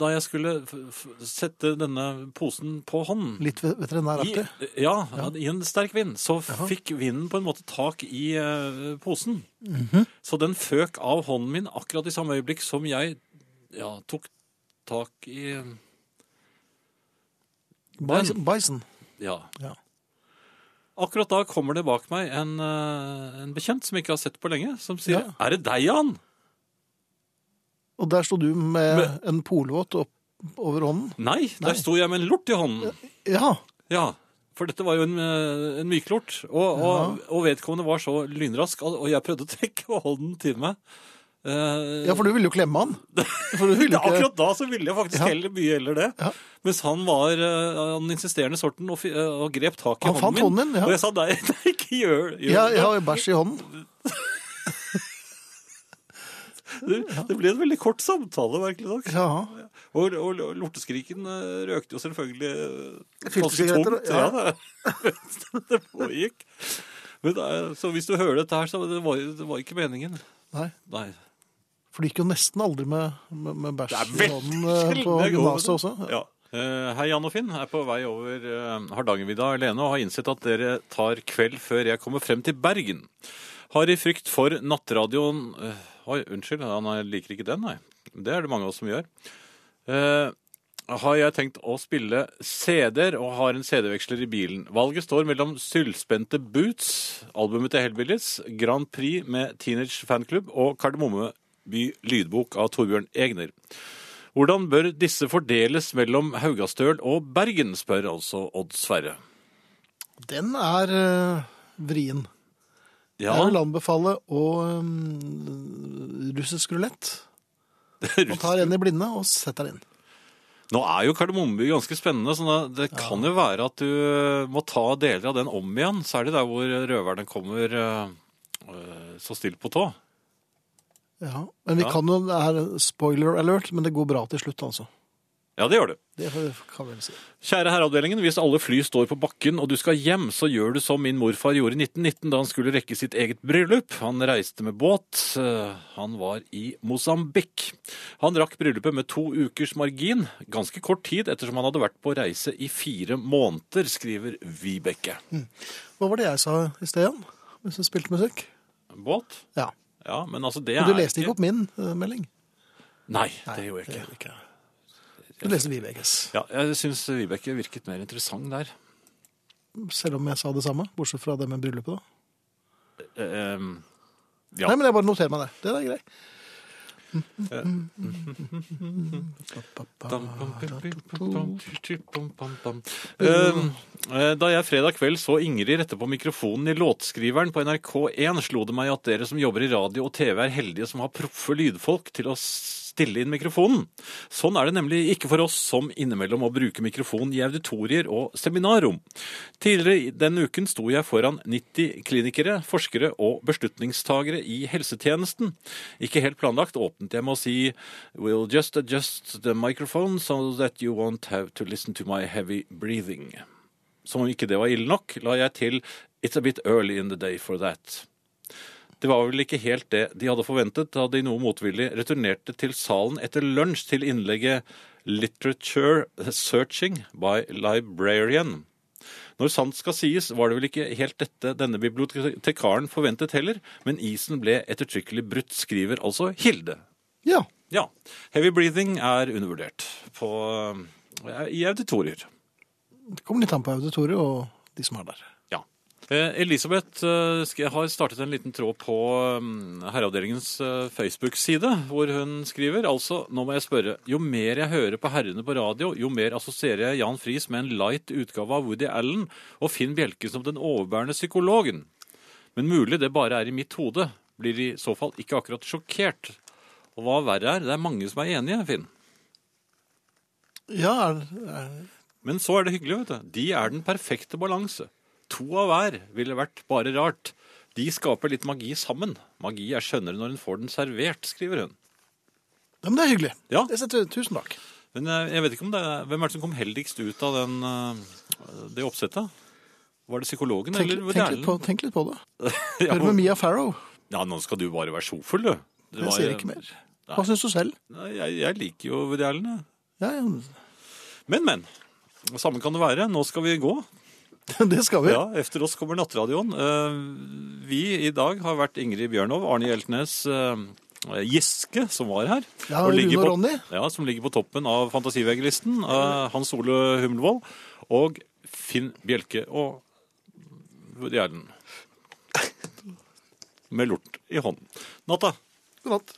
[SPEAKER 2] da jeg skulle f f sette denne posen på hånden
[SPEAKER 1] Litt ve-
[SPEAKER 2] i,
[SPEAKER 1] veterinæraktig?
[SPEAKER 2] ja, i en sterk vind, så fikk vinden på en måte tak i eh, posen.
[SPEAKER 1] Mhm.
[SPEAKER 2] Så den føk av hånden min akkurat i samme øyeblikk som jeg ja, tok tak i
[SPEAKER 1] Bison. Bison.
[SPEAKER 2] Ja.
[SPEAKER 1] Ja.
[SPEAKER 2] Akkurat da kommer det bak meg en, eh, en bekjent som jeg ikke har sett på lenge, som sier
[SPEAKER 1] Ja.
[SPEAKER 2] 'Er det deg, Jan?'
[SPEAKER 1] Og der sto du med
[SPEAKER 2] Men-
[SPEAKER 1] en polvåt opp over hånden?
[SPEAKER 2] Nei, der
[SPEAKER 1] Nei.
[SPEAKER 2] sto jeg med en lort i hånden.
[SPEAKER 1] Ja.
[SPEAKER 2] Ja, for dette var jo en, eh, en myklort, og, og, og vedkommende var så lynrask, og og jeg prøvde å trekke hånden til meg. Eh,
[SPEAKER 1] ja, for du ville jo klemme han. For du ville
[SPEAKER 2] Ja,
[SPEAKER 1] jo ikke
[SPEAKER 2] Akkurat da så ville jeg faktisk heller mye heller det.
[SPEAKER 1] Ja.
[SPEAKER 2] Mens han var eh, av den insisterende sorten og, fi- eh, og grep tak i
[SPEAKER 1] Han fant
[SPEAKER 2] hånden min.
[SPEAKER 1] hånden din, ja.
[SPEAKER 2] Og jeg sa nei, nei ikke gjør, gjør
[SPEAKER 1] Ja,
[SPEAKER 2] det.
[SPEAKER 1] jeg har jo bæsj i hånden.
[SPEAKER 2] det. Det ble en veldig kort samtale, merkelig nok.
[SPEAKER 1] Ja.
[SPEAKER 2] Og, og, og lorteskriken eh, røkte jo selvfølgelig eh,
[SPEAKER 1] Fylte
[SPEAKER 2] ganske
[SPEAKER 1] sigaretter,
[SPEAKER 2] tungt. Ja. det- det pågikk. Men det er, så hvis du hører dette her, så det var det var ikke meningen.
[SPEAKER 1] Nei.
[SPEAKER 2] Nei.
[SPEAKER 1] For det gikk jo nesten aldri med, med, med bæsj i hånden eh,
[SPEAKER 2] sjelden
[SPEAKER 1] på
[SPEAKER 2] jeg går med
[SPEAKER 1] gymnaset
[SPEAKER 2] det.
[SPEAKER 1] også.
[SPEAKER 2] Ja. Eh, Hei, Jan og Finn. Jeg er på vei over eh, Hardangervidda alene og har innsett at dere tar kveld før jeg kommer frem til Bergen. Har i frykt for nattradioen eh, Oi, unnskyld, han er- liker ikke den, nei. Det er det mange av oss som gjør. Eh, har jeg tenkt å spille CD-er og har en CD-veksler i bilen. Valget står mellom Sylspente Boots, albumet til Hellbillies, Grand Prix med Teenage Fanklubb og Kardemommeby lydbok av Torbjørn Egner. Hvordan bør disse fordeles mellom Haugastøl og Bergen, spør altså Odd Sverre.
[SPEAKER 1] Den er eh, vrien.
[SPEAKER 2] Ja,
[SPEAKER 1] Jeg vil anbefale å eh, russisk rulett. Man tar en i blinde og setter den inn.
[SPEAKER 2] Nå er jo Kardemommeby ganske spennende, så da- det kan jo være at du eh, må ta deler av den om igjen, særlig der hvor røverne kommer eh, eh, så stilt på tå.
[SPEAKER 1] Ja. Men vi
[SPEAKER 2] Ja.
[SPEAKER 1] kan jo, det er spoiler alert, men det går bra til slutt, altså.
[SPEAKER 2] Ja, det gjør du.
[SPEAKER 1] Det kan vi vel si.
[SPEAKER 2] Kjære herreavdelingen, hvis alle fly står på bakken og du skal hjem, så gjør du som min morfar gjorde i 1919 da han skulle rekke sitt eget bryllup. Han reiste med båt. eh, Han var i Mosambik. Han rakk bryllupet med to ukers margin, ganske kort tid ettersom han hadde vært på reise i fire måneder, skriver Vibeke.
[SPEAKER 1] Hva var det jeg sa i sted igjen, hvis du spilte musikk?
[SPEAKER 2] Båt?
[SPEAKER 1] Ja.
[SPEAKER 2] Ja, men altså det
[SPEAKER 1] Men du
[SPEAKER 2] er
[SPEAKER 1] leste ikke opp min eh, melding?
[SPEAKER 2] Nei, det gjorde jeg ikke.
[SPEAKER 1] Du leste Viveges.
[SPEAKER 2] Ja, jeg syns Vibeke virket mer interessant der.
[SPEAKER 1] Selv om jeg sa det samme, bortsett fra det med bryllupet, da.
[SPEAKER 2] Eh, em, Ja.
[SPEAKER 1] Nei, men jeg bare noterer meg det. Det er grei.
[SPEAKER 2] Um, eh, Da jeg fredag kveld så Ingrid rette på mikrofonen i låtskriveren på NRK1, slo det meg at dere som jobber i radio og TV er heldige som har proffe lydfolk til å stille inn mikrofonen. Sånn er det nemlig ikke for oss som innimellom må bruke mikrofon i auditorier og seminarrom. Tidligere i den uken sto jeg foran 90 klinikere, forskere og beslutningstagere i helsetjenesten. Ikke helt planlagt åpnet jeg med å si «We'll just adjust the microphone so that you won't have to listen to my heavy breathing». Som om ikke det var ille nok, la jeg til «It's a bit early in the day for that». Det var vel ikke helt det de hadde forventet da de noe motvillig returnerte til salen etter lunsj til innlegget «Literature Searching by Librarian». Når sant skal sies, var det vel ikke helt dette denne bibliotekaren forventet heller, men isen ble ettertrykkelig brutt, skriver altså Hilde.
[SPEAKER 1] Ja.
[SPEAKER 2] Ja, heavy breathing er undervurdert på, eh, i auditorier.
[SPEAKER 1] Det kommer litt an på auditoriet og de som er der.
[SPEAKER 2] Ja. Eh, Elisabeth eh, sk- har startet en liten tråd på mm, Herreavdelingens eh, Facebook-side, hvor hun skriver altså, nå må jeg spørre, jo mer jeg hører på herrene på radio, jo mer assosierer jeg Jan Friis med en light utgave av Woody Allen og Finn Bjelke som den overbærende psykologen. Men mulig det bare er i mitt hode. Blir i så fall ikke akkurat sjokkert. Og hva verre er, det er mange som er enige, Finn.
[SPEAKER 1] Ja, er, er,
[SPEAKER 2] Men så er det hyggelig, vet du. De er den perfekte balanse. To av hver ville vært bare rart. De skaper litt magi sammen. Magi er skjønnere når en får den servert, skriver hun.
[SPEAKER 1] ja, men det er hyggelig.
[SPEAKER 2] Ja.
[SPEAKER 1] Det setter vi tusen takk.
[SPEAKER 2] Men eh, jeg vet ikke om det er, hvem er det som kom heldigst ut av den, eh, det oppsettet? Var det psykologen
[SPEAKER 1] Tenk,
[SPEAKER 2] eller
[SPEAKER 1] tenk, litt på, tenk litt på det.
[SPEAKER 2] ja,
[SPEAKER 1] Hør med Mia Farrow.
[SPEAKER 2] ja, nå skal du bare være sofull, du. Det
[SPEAKER 1] Jeg
[SPEAKER 2] var-
[SPEAKER 1] sier ikke mer. Hva syns du selv?
[SPEAKER 2] Nei, Jeg, jeg liker jo Woody Allen, jeg.
[SPEAKER 1] Ja, ja,
[SPEAKER 2] Men, men. Samme kan det være. Nå skal vi gå.
[SPEAKER 1] det skal vi.
[SPEAKER 2] Ja, efter oss kommer nattradioen. Eh, Vi i dag har vært Ingrid Bjørnov, Arne Hjeltnes, eh, Giske, som var her.
[SPEAKER 1] Ja,
[SPEAKER 2] og
[SPEAKER 1] Rune
[SPEAKER 2] ligger
[SPEAKER 1] og
[SPEAKER 2] på-
[SPEAKER 1] Ronny.
[SPEAKER 2] Ja, som ligger på toppen av Fantasivegg-listen. eh, Hans Ole Humlevold og Finn Bjelke og Woody Allen. Med lort i hånden. Natta.
[SPEAKER 1] God natt.